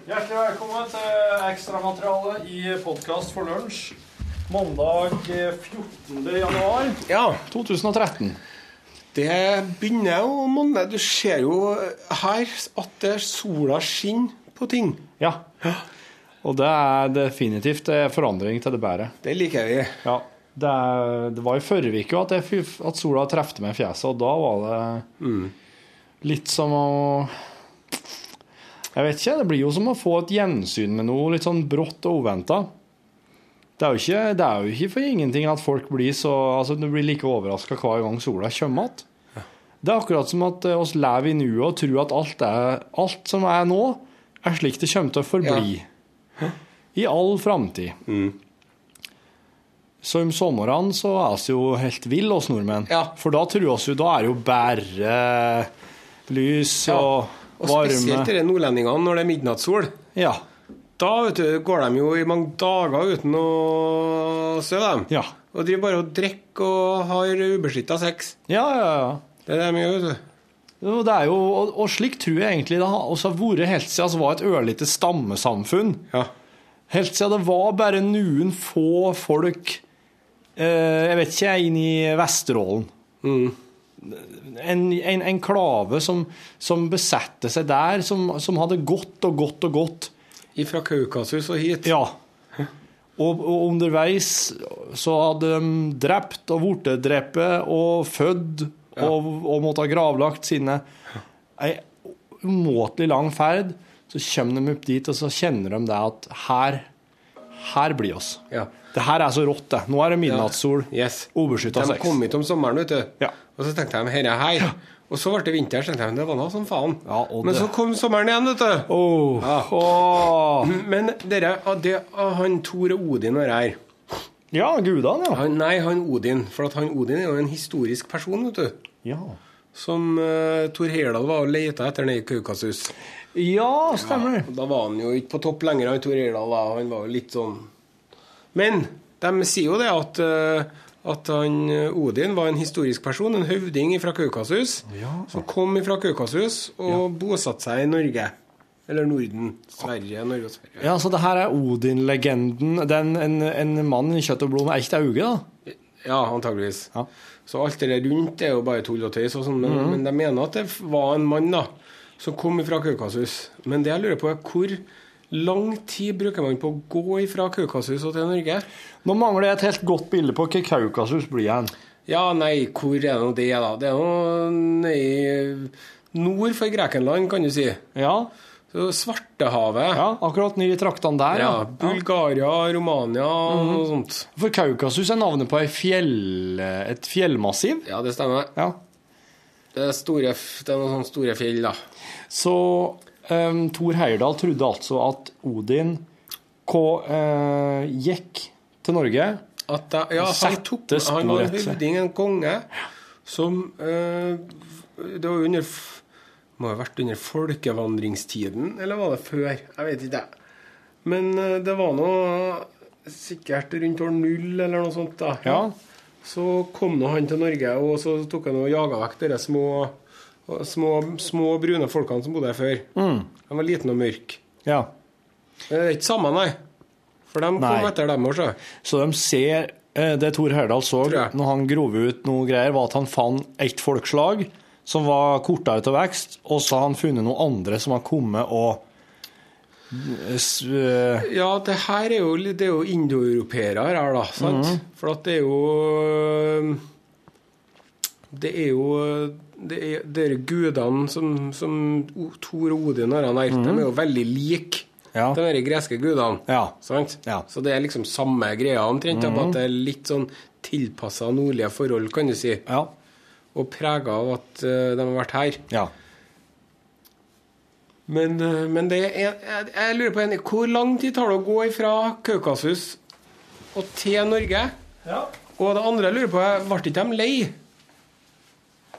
Speaker 4: Hjertelig velkommen til ekstramateriale i podkast for lunsj. Mandag eh, 14. januar
Speaker 2: ja,
Speaker 4: 2013.
Speaker 2: det begynner jo å monne. Du ser jo her at det sola skinner på ting.
Speaker 4: Ja. Og det er definitivt eh, forandring til det bedre.
Speaker 2: Det liker vi.
Speaker 4: Ja. Det, er, det var i forrige uke jo at, jeg fy- at sola trefte meg i fjeset, og da var det litt som å Jeg vet ikke. Det blir jo som å få et gjensyn med noe litt sånn brått og oventa. Det er jo ikke, det er jo ikke for ingenting at folk blir så Altså, du blir like overraska hver gang sola kommer igjen. Det er akkurat som at eh, oss lever i nuet og tror at alt, er, alt som er nå, er slik det kommer til å forbli. I all framtid.
Speaker 2: Mm.
Speaker 4: Så om sommeren så er oss jo helt vill, oss nordmenn.
Speaker 2: Ja.
Speaker 4: For da tror oss jo, da er det jo bare lys
Speaker 2: Ja.
Speaker 4: og
Speaker 2: Og
Speaker 4: varme.
Speaker 2: spesielt dere nordlendingene når det er midnattssol.
Speaker 4: Ja.
Speaker 2: Da vet du, går de jo i mange dager uten å sove, dem.
Speaker 4: Ja.
Speaker 2: Og driver bare og drikker og har ubeskytta sex.
Speaker 4: Ja, ja, ja.
Speaker 2: Det er det de gjør, vet du.
Speaker 4: Jo, det er jo, og, og slik tror jeg egentlig det har også har vært helt siden det var et ørlite stammesamfunn.
Speaker 2: Ja.
Speaker 4: Helt siden det var bare noen få folk eh, Jeg vet ikke, jeg, inn i Vesterålen. En, en, en klave som, som besette seg der, som, som hadde gått og gått og gått.
Speaker 2: Fra Kaukasus og hit.
Speaker 4: Ja. Og, og underveis så hadde de drept og blitt drept og fødd og, og måtte ha gravlagt sine Ei umåtelig lang ferd. Så kommer de opp dit, og så kjenner de det at her her blir oss.
Speaker 2: Ja.
Speaker 4: Det her er så rått, det. Nå er det midnattssol.
Speaker 2: Yes.
Speaker 4: Ubeskytta
Speaker 2: De
Speaker 4: sex.
Speaker 2: kom hit om sommeren, vet du.
Speaker 4: Ja.
Speaker 2: Og så tenkte jeg herre hei. Og så ble det vinter, så tenkte jeg det var nå som faen.
Speaker 4: Ja, og
Speaker 2: Men
Speaker 4: det-
Speaker 2: så kom sommeren igjen, vet du.
Speaker 4: Åh,
Speaker 2: Ja.
Speaker 4: åh.
Speaker 2: Men dere, ah, det, ah, han Tore Odin og det her
Speaker 4: ja, gudene, ja.
Speaker 2: han, Nei, han Odin. For at han Odin er jo en historisk person, vet du.
Speaker 4: ja.
Speaker 2: Som uh, Thor Heyerdahl var og leita etter nede i Kaukasus.
Speaker 4: Ja, stemmer det.
Speaker 2: Og Da var han jo ikke på topp lenger, han Tor Heyerdahl. da. Han var jo litt sånn Men de sier jo det at, eh, at han eh, Odin var en historisk person, en høvding fra Kaukasus, som kom fra Kaukasus og bosatte seg i Norge. Eller Norden. Sverige, Norge og Sverige.
Speaker 4: Ja, så det her er Odin-legenden. Det er en, en, en mann i kjøtt og blod med ett øye, da.
Speaker 2: Ja, antageligvis.
Speaker 4: Ja.
Speaker 2: Så alt det der rundt er jo bare tull og tøys, og sånn, men, men de mener at det f- var en mann da, som kom fra Kaukasus. Men det jeg lurer på, er hvor lang tid bruker man på å gå fra Kaukasus og til Norge?
Speaker 4: Nå mangler jeg et helt godt bilde på hva Kaukasus blir hen.
Speaker 2: Ja, nei, hvor er det nå det, da? Det er nå nei, nord for Grekenland, kan du si.
Speaker 4: Ja,
Speaker 2: Så Svartehavet.
Speaker 4: ja akkurat nye traktene der, ja. Mhm.
Speaker 2: Ja, Bulgaria, Romania og noe sånt.
Speaker 4: For Kaukasus er navnet på ei fjell, et fjellmassiv.
Speaker 2: Ja, det stemmer.
Speaker 4: Ja.
Speaker 2: Det er, store, f- det er noen sånne store fjell, da.
Speaker 4: Så um, Thor Heyerdahl trodde altså at Odin ko, eh, gikk til Norge.
Speaker 2: At da, ja, han,
Speaker 4: Sette
Speaker 2: tok, han var en
Speaker 4: sporet.
Speaker 2: høvding, en konge, som eh, Det var jo under f- Må ha vært under folkevandringstiden, eller var det før? Jeg vet ikke. jeg. Men eh, det var nå sikkert rundt år null eller noe sånt. da.
Speaker 4: Ja.
Speaker 2: Så kom nå han til Norge, og så tok han og jaga vekk de små, små, små brune folkene som bodde her før.
Speaker 4: Mm.
Speaker 2: De var liten og mørk.
Speaker 4: Ja.
Speaker 2: Men Det er ikke samme, nei. For de
Speaker 4: Nei.
Speaker 2: kom etter dem òg, så.
Speaker 4: Så de ser eh, Det Thor Heyerdahl så
Speaker 2: Tror jeg.
Speaker 4: når han grov ut noe greier, var at han fant ett folkeslag som var kortere til vekst, og så har han funnet noen andre som har kommet og s- eh,
Speaker 2: Ja, det her er jo, det er jo indoeuropeere her, da. Sant?
Speaker 4: Mhm.
Speaker 2: For at det er jo Det er jo Det er det er gudene som, som O- Thor og Odin har nært. De er jo veldig like
Speaker 4: Mhm. Ja.
Speaker 2: de her greske gudene.
Speaker 4: Ja.
Speaker 2: Sant?
Speaker 4: Ja. Mhm.
Speaker 2: Så det er liksom samme greia omtrent. da, Bare at det er litt sånn tilpassa nordlige forhold, kan du si.
Speaker 4: Ja.
Speaker 2: Og prega av at eh, de har vært her.
Speaker 4: Ja.
Speaker 2: Men, eh, men det er, jeg, jeg lurer på en, hvor lang tid tar det å gå fra Kaukasus og til Norge? Og det andre jeg lurer på, er ble ikke de lei?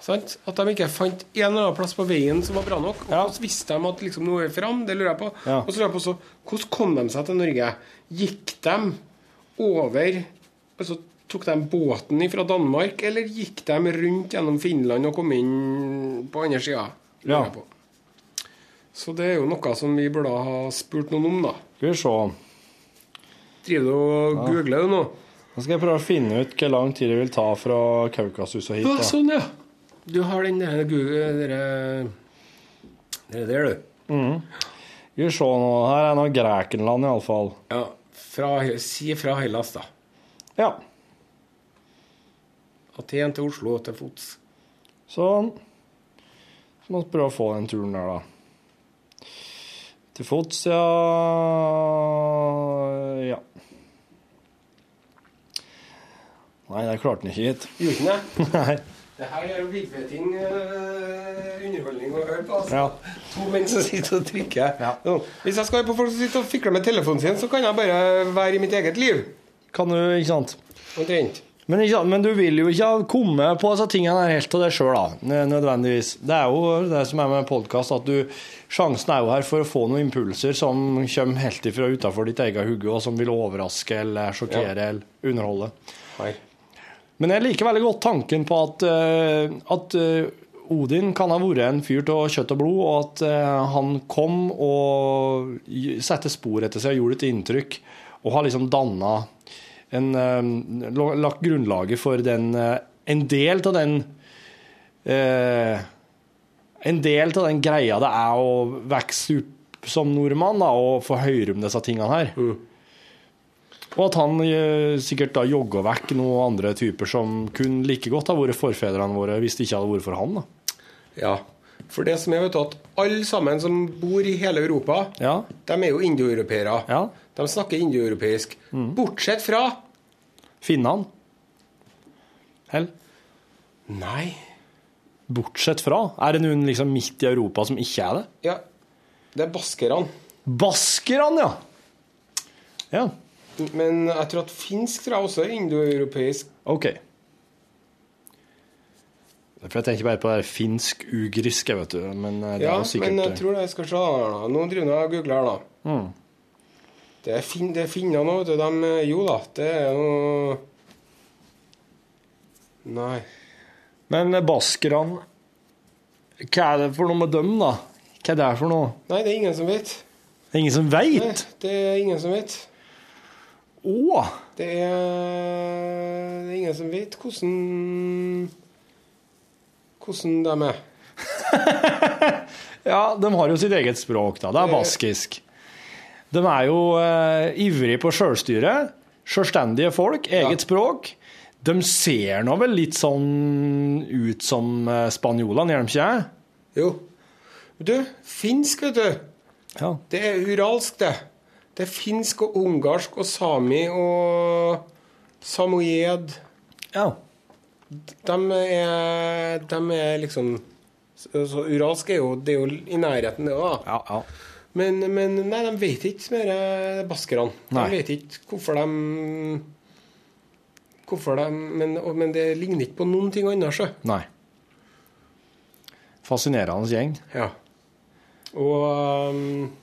Speaker 2: Sant? At de ikke fant en eller annen plass på veien som var bra nok. Og
Speaker 4: Ja.
Speaker 2: Hvordan visste de at liksom, noe er fram? Det lurer jeg på.
Speaker 4: Ja.
Speaker 2: Og så lurer jeg på så, hvordan kom de seg til Norge? Gikk de over altså, Tok de båten fra Danmark, eller gikk de rundt gjennom Finland og kom inn på andre sida?
Speaker 4: Ja.
Speaker 2: Så det er jo noe som vi burde ha spurt noen om, da.
Speaker 4: Skal vi se
Speaker 2: Driver du og googler du nå?
Speaker 4: Nå skal jeg prøve å finne ut hvor lang tid det vil ta fra Kaukasus og hit.
Speaker 2: Ja,
Speaker 4: Da.
Speaker 2: sånn, ja. Du har den der Google der, der, der, du.
Speaker 4: Skal vi se nå. Her er nå Grekenland, iallfall.
Speaker 2: Ja. Fra, si fra Hellas, da.
Speaker 4: Ja.
Speaker 2: Aten til Oslo til fots.
Speaker 4: Sånn. Så må vi prøve å få den turen der, da. Til fots, ja Ja. Nei, det klarte han ikke hit.
Speaker 2: Gjorde den det?
Speaker 4: (laughs) Nei.
Speaker 2: Det her er jo villveting, eh, underholdning å høre på. altså.
Speaker 4: Ja.
Speaker 2: To menn som sitter og trykker.
Speaker 4: Ja.
Speaker 2: Nå, Hvis jeg skal høre på folk som sitter og fikler med telefonen sin, så kan jeg bare være i mitt eget liv.
Speaker 4: Kan du, ikke sant?
Speaker 2: Omtrent.
Speaker 4: Men, ikke, sant, men du vil jo ikke ha komme på disse tingene her helt til deg sjøl, da. n- Nødvendigvis. Det er jo det som er med podkast, at du Sjansen er jo her for å få noen impulser som kommer helt ifra utafor ditt eget hode, og som vil overraske eller sjokkere eller underholde.
Speaker 2: Her.
Speaker 4: Men jeg liker veldig godt tanken på at, eh, at eh, Odin kan ha vært en fyr av kjøtt og blod, og at eh, han kom og gj- satte spor etter seg og gjorde et inntrykk, og har liksom danna en, eh, la- Lagt grunnlaget for den eh, En del av den eh, En del av den greia det er å vokse opp som nordmann da, og få høre om disse tingene her. Og at han eh, sikkert da jogga vekk noen andre typer som kunne like godt ha vært forfedrene våre, hvis det ikke hadde vært for han, da.
Speaker 2: Ja. For det som er, vet du, at alle sammen som bor i hele Europa,
Speaker 4: Ja.
Speaker 2: de er jo indoeuropeere.
Speaker 4: ja. Mm.
Speaker 2: De snakker indoeuropeisk. Bortsett fra
Speaker 4: Finnene. Hell.
Speaker 2: Nei.
Speaker 4: Bortsett fra. Er det noen liksom midt i Europa som ikke er det?
Speaker 2: Ja, det er baskerne.
Speaker 4: Baskerne, ja! Ja,
Speaker 2: Men jeg tror at finsk tror jeg også er indoeuropeisk.
Speaker 4: OK. For jeg tenker bare på det der finsk-ugriske, vet du. Men eh, det
Speaker 2: Ja,
Speaker 4: er jo sikkert
Speaker 2: men jeg tror det jeg skal se her da. Nå driver jeg og googler her, da.
Speaker 4: Mm.
Speaker 2: Det er, fin, det er finner nå, vet du. De, eh, jo da, det er noe Nei.
Speaker 4: Men eh, baskerne Hva er det for noe med dem, da? Hva er det for noe?
Speaker 2: Nei, det er ingen som vet.
Speaker 4: Det er ingen som
Speaker 2: Nei,
Speaker 4: veit?
Speaker 2: det er ingen som vet.
Speaker 4: Å!
Speaker 2: Det er, det er ingen som vet hvordan hvordan de er.
Speaker 4: Ja, de har jo sitt eget språk, da. Det er baskisk. De er jo eh, ivrige på sjølstyre. Sjølstendige folk. Eget språk. De ser nå vel litt sånn ut som eh, spanjolene, gjør de ikke det?
Speaker 2: Jo. Du, finsk, vet du.
Speaker 4: Ja.
Speaker 2: Det er uralsk, det. Det er finsk og ungarsk og sami og samoyed.
Speaker 4: ja.
Speaker 2: De er, de er liksom så, så Uralsk er jo, det er jo i nærheten, det òg.
Speaker 4: Ja, ja.
Speaker 2: Men, men nei, de vet ikke mer, eh, baskerne. De
Speaker 4: Nei.
Speaker 2: vet ikke hvorfor de Hvorfor de Men, og- men det ligner ikke på noen ting annet, sjø.
Speaker 4: Nei. Fascinerende gjeng.
Speaker 2: Ja. Og um,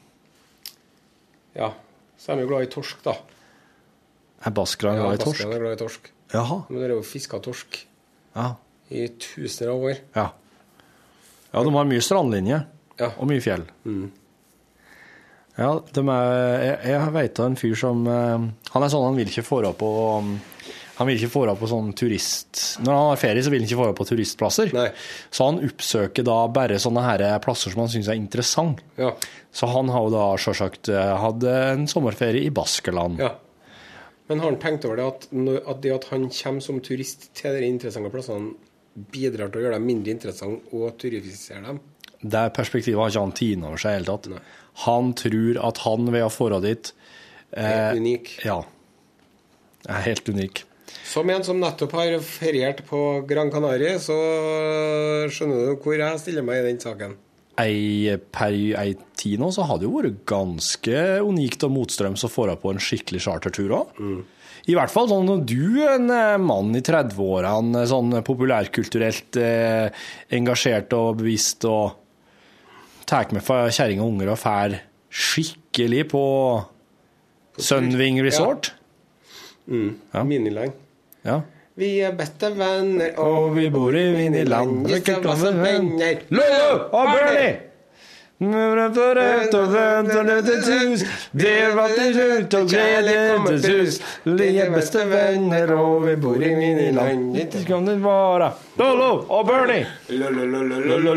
Speaker 2: Ja. Så er de jo glad i torsk, da.
Speaker 4: Er baskerne glad i
Speaker 2: baskerne
Speaker 4: torsk?
Speaker 2: er glad i torsk.
Speaker 4: Jaha.
Speaker 2: De har jo fiska torsk
Speaker 4: Ja.
Speaker 2: i tusener av år.
Speaker 4: ja. Ja, de har mye strandlinje
Speaker 2: Ja.
Speaker 4: og mye fjell. Ja, de er, jeg, jeg vet av en fyr som eh, Han er sånn, han vil ikke få opp på um, han vil ikke få opp på sånn turist... Når han har ferie, så vil han ikke få opp på turistplasser.
Speaker 2: Nei.
Speaker 4: Så han oppsøker da bare sånne her plasser som han syns er interessant.
Speaker 2: Ja.
Speaker 4: Så han har jo da sjølsagt eh, hatt en sommerferie i Baskeland.
Speaker 2: ja. Men har han tenkt over det at, når- at det at han kommer som turist til de interessante plassene, bidrar til å gjøre dem mindre interessante og turifisere dem?
Speaker 4: Det er perspektivet har ikke han tine over seg i hele tatt. Han tror at han ved å fara dit
Speaker 2: Helt unik.
Speaker 4: Ja. Er helt unik.
Speaker 2: Som en som nettopp har feriert på Gran Canaria, så skjønner du hvor jeg stiller meg i den saken.
Speaker 4: Ei, per ei tid nå så har det jo vært ganske unikt og motstrøms å fara på en skikkelig chartertur òg. I hvert fall sånn når du, en eh, mann i 30-årene, sånn populærkulturelt eh, engasjert og bevisst og tar med fa- kjerring og unger og fær skikkelig på Sunwing Resort. Ja.
Speaker 2: Miniland.
Speaker 4: Ja.
Speaker 2: Vi er beste venner, og
Speaker 4: Og vi bor i Vinniland.
Speaker 2: Vi skal være som venner.
Speaker 4: Lolo og Bernie! Det var til slutt og glede til sus. Vi er beste venner, og vi bor i Vinniland. Det kan det være. Lolo og Bernie! Lolo!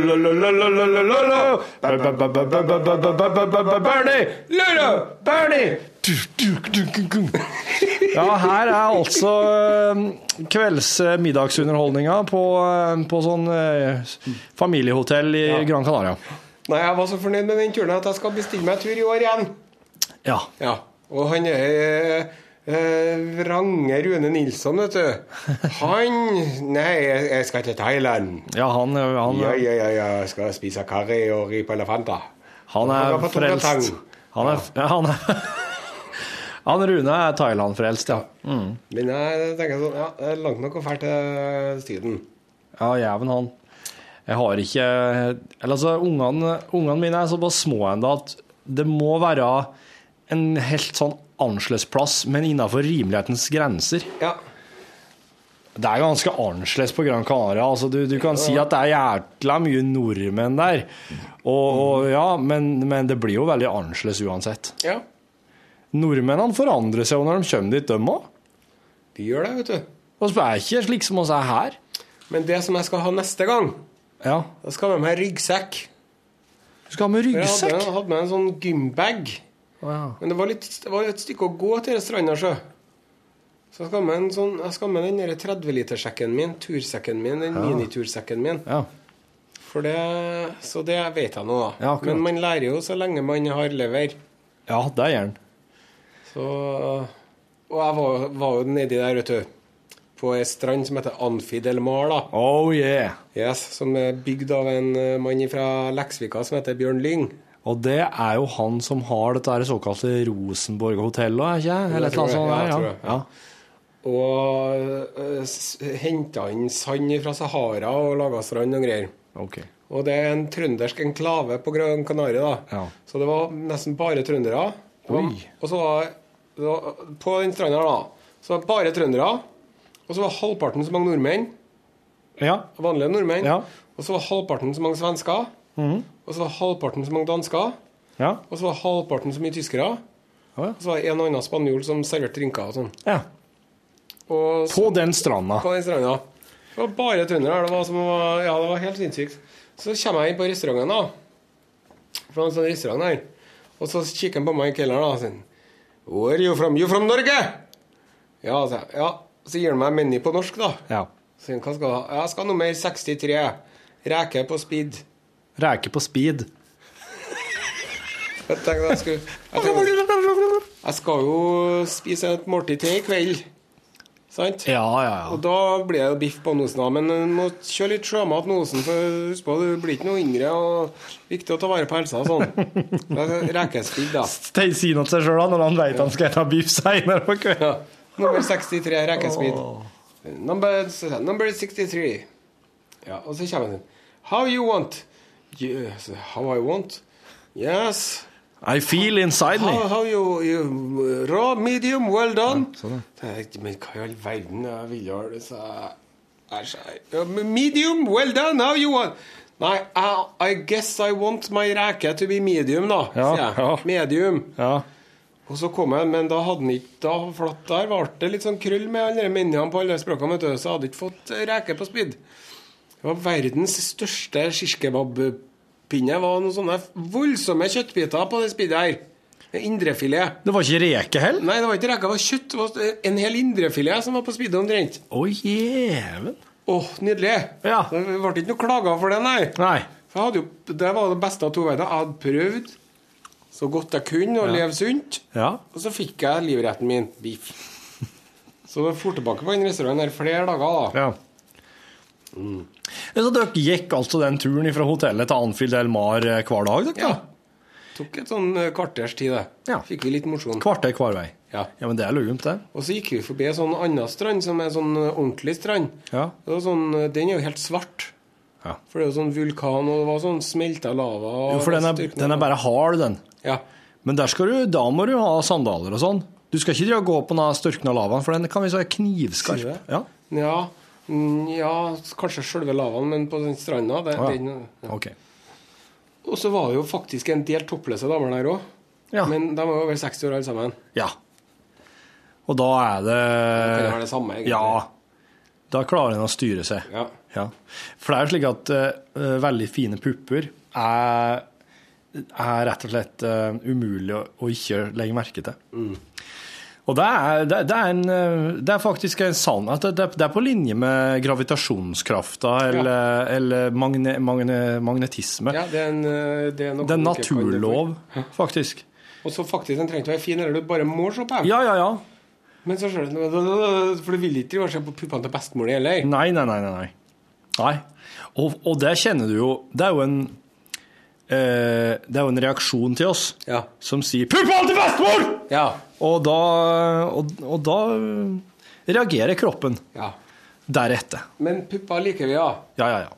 Speaker 4: Bernie! Lolo! Bernie! Ja, her er altså eh, kveldsmiddagsunderholdninga på, eh, på sånn eh, familiehotell i Gran Canaria.
Speaker 2: Nei, jeg var så fornøyd med den turen at jeg skal bestille meg tur i år igjen.
Speaker 4: Ja.
Speaker 2: Ja, og han er eh, eh, Range Rune Nilsson, vet du. Han Nei, jeg, jeg skal til Thailand.
Speaker 4: ja han, eh, han,
Speaker 2: Ja, ja, ja, ja, jeg skal spise karri og ri på elefanter.
Speaker 4: han
Speaker 2: Han
Speaker 4: er
Speaker 2: var på
Speaker 4: frelst.
Speaker 2: Tungatang.
Speaker 4: Han er, (laughs) ja, han er Han Rune er Thailand-frelst, ja. Mm.
Speaker 2: Men jeg tenker sånn, ja, det er langt nok å dra til Syden.
Speaker 4: Ja, jæven han. Jeg har ikke Eller altså, ungene, ungene mine er såpass små ennå at det må være en helt sånn annerledes plass, men innafor rimelighetens grenser.
Speaker 2: Ja.
Speaker 4: Det er ganske annerledes på Gran Canaria. Altså, du, du kan si at det er jækla mye nordmenn der. Og, og ja, men, men det blir jo veldig annerledes uansett.
Speaker 2: ja.
Speaker 4: Nordmennene forandrer seg jo når de kommer dit, dem òg.
Speaker 2: Vi gjør det, vet du.
Speaker 4: Vi er ikke slik som oss er her.
Speaker 2: Men det som jeg skal ha neste gang,
Speaker 4: Ja.
Speaker 2: da skal jeg med meg ryggsekk.
Speaker 4: Du skal ha med
Speaker 2: For Jeg hadde,
Speaker 4: ryggsekk.
Speaker 2: hadde med en sånn gymbag.
Speaker 4: Wow.
Speaker 2: Men det var, litt, det var jo et stykke å gå til denne stranda sjø. Så jeg skal med, en sånn, jeg skal med den der 30-litersekken min, tursekken min, den minitursekken min.
Speaker 4: Ja.
Speaker 2: For det, så det vet jeg nå, da.
Speaker 4: Ja, akkurat.
Speaker 2: Men man lærer jo så lenge man har lever.
Speaker 4: ja, det gjør den.
Speaker 2: Så, og jeg var, var jo nedi der, vet du. På ei strand som heter Anfi del Mar, da.
Speaker 4: Oh yeah.
Speaker 2: Yes, som er bygd av en eh, mann fra Leksvika som heter Bjørn Lyng.
Speaker 4: Og det er jo han som har dette her såkalte Rosenborg-hotellet, ikke jeg? Eller
Speaker 2: Jeg
Speaker 4: et
Speaker 2: tror
Speaker 4: eller
Speaker 2: det.
Speaker 4: annet
Speaker 2: Ja,
Speaker 4: sånt.
Speaker 2: jeg
Speaker 4: der,
Speaker 2: tror det.
Speaker 4: Ja, ja.
Speaker 2: Og uh, henta inn sand fra Sahara og laga strand og greier.
Speaker 4: Ok.
Speaker 2: Og det er en trøndersk enklave på Gran Canaria, da.
Speaker 4: Ja.
Speaker 2: Så det var nesten bare trøndere. Det var-
Speaker 4: Oi.
Speaker 2: Og så var det var- På den stranda, da, så var det bare trøndere. Og så var halvparten så mange nordmenn.
Speaker 4: Ja.
Speaker 2: Vanlige nordmenn.
Speaker 4: Ja. Mhm.
Speaker 2: Og så var halvparten så mange svensker. Og så var halvparten så mange dansker.
Speaker 4: Ja.
Speaker 2: Og så var halvparten så mye tyskere.
Speaker 4: Ja, ja.
Speaker 2: Og så var det en og annen spanjol som serverte drinker og sånn.
Speaker 4: ja.
Speaker 2: Og
Speaker 4: På den stranda.
Speaker 2: på den stranda. Det var bare trøndere her. Det var, som, å- ja, det var helt sinnssykt. Så kommer jeg inn på restauranten, da. Fra en sånn restaurant der. Og så kikker han på meg i kelleren da, og sier Where are you from? You from Norge? Ja, sier jeg. Ja. Så gir han meg meny på norsk, da.
Speaker 4: Ja.
Speaker 2: Så sier han, hva skal du ha? Jeg skal ha nummer 63. Reke på speed.
Speaker 4: Reke på speed.
Speaker 2: Jeg tenkte jeg
Speaker 4: (laughs)
Speaker 2: skulle Jeg, tenkte, jeg skal jo spise et måltid til i kveld. Sant?
Speaker 7: Ja, ja, ja.
Speaker 2: Og da blir det jo biff på Osen, da. Men du må kjøre litt sjømat med Osen, for husk på, du blir ikke noe yngre. Og viktig å ta vare på helsa og sånn. Det er Rekestigg, da.
Speaker 4: Stein sier noe til seg sjøl når han vet han skal spise biff seinere på kvelden.
Speaker 2: Ja. Nummer 63, rekkespeed. Number, number 63. Ja, og så kommer den. How you want? Yes, how I want? Yes.
Speaker 4: I feel inside me.
Speaker 2: How, how you, you Raw, medium, well done.
Speaker 4: sånn,
Speaker 2: Det er- Men hva i all verden jeg vil gjøre det, så Æsj. jeg- Ja, men Medium, well done, how you want? Nei, I, I guess I want my reke to be medium, da,
Speaker 4: Ja,
Speaker 2: sier jeg.
Speaker 4: ja.
Speaker 2: Medium.
Speaker 4: Ja.
Speaker 2: Og så kom jeg, men da hadde han ikke da, For at der ble det litt sånn krøll med alle de mennene på alle språkene, vet du, så hadde jeg ikke fått eh, reke på speed. Det var verdens største shishkebabpinne. var noen sånne voldsomme kjøttbiter på det speedet her. En Indrefilet.
Speaker 4: Det var ikke reke heller?
Speaker 2: Nei, det var ikke reke, det var kjøtt. Det var en hel indrefilet som var på speedet omtrent.
Speaker 4: Å, jæven.
Speaker 2: Åh, nydelig.
Speaker 4: Ja.
Speaker 2: Det ble ikke noe klager for det, nei.
Speaker 4: Nei.
Speaker 2: For jeg hadde jo, Det var det beste av to verdener. Jeg hadde prøvd så godt jeg kunne å leve sunt.
Speaker 4: Ja.
Speaker 2: Og så fikk jeg livretten min,
Speaker 4: (laughs)
Speaker 2: biff. Så jeg for tilbake på den restauranten her flere dager, da.
Speaker 4: ja. Mm. Så dere gikk altså den turen fra hotellet til Anfield El Mar eh, hver dag? Dere, da?
Speaker 2: Tok et sånn eh, kvarters tid, det.
Speaker 4: Ja.
Speaker 2: Fikk vi litt mosjon.
Speaker 4: Kvarter hver vei.
Speaker 2: Ja.
Speaker 4: ja, men det er lunt, det.
Speaker 2: Og så gikk vi forbi en sånn annen strand, som er sånn eh, ordentlig strand.
Speaker 4: Ja.
Speaker 2: Det var sånn, eh, den er jo helt svart.
Speaker 4: Ja.
Speaker 2: For det er jo sånn vulkan, og det var sånn smelta lava. og
Speaker 4: Jo, for den er,
Speaker 2: styrken-
Speaker 4: den er bare hard, den.
Speaker 2: Ja.
Speaker 4: Men der skal du, da må du ha sandaler og sånn. Du skal ikke drive og gå på den størkna lavaen, for den kan vi si er knivskarp.
Speaker 2: Sier du det?
Speaker 4: Ja,
Speaker 2: ja. Mm, Ja, kanskje selve lavaen, men på den stranda det,
Speaker 4: Å, ja.
Speaker 2: den, ja.
Speaker 4: ok.
Speaker 2: Og så var det jo faktisk en del toppløse damer der òg.
Speaker 4: Ja.
Speaker 2: Men de var jo over 60 år alle sammen.
Speaker 4: ja. Og da er
Speaker 2: Kan det være
Speaker 4: det
Speaker 2: det samme, egentlig?
Speaker 4: Ja. Da klarer en å styre seg.
Speaker 2: Ja.
Speaker 4: Ja. For det er jo slik at eh, veldig fine pupper er, er rett og slett eh, umulig å, å ikke legge merke til. Og det er, det, det, er en, eh, det er faktisk en sann at det, det- det er på linje med gravitasjonskrafta eller, eller magne, magne, magnetisme.
Speaker 2: Ja, det er en, eh, det er noe
Speaker 4: Det er en
Speaker 2: du ikke kan det for.
Speaker 4: naturlov, faktisk.
Speaker 2: Og så faktisk, den trenger ikke være fin, eller du bare må se på dem.
Speaker 4: Ja, ja, ja.
Speaker 2: Men så ser du For du vil ikke drive og se på puppene til bestemor di heller.
Speaker 4: Nei, nei, nei. nei, nei. nei. Og, og det kjenner du jo Det er jo en, eh, det er jo en reaksjon til oss.
Speaker 2: Ja.
Speaker 4: som sier 'Puppa til bestemor!'
Speaker 2: Ja.
Speaker 4: Og da, og, og da øh, reagerer kroppen
Speaker 2: ja.
Speaker 4: deretter.
Speaker 2: Men pupper liker vi, ja.
Speaker 4: Ja, ja, ja.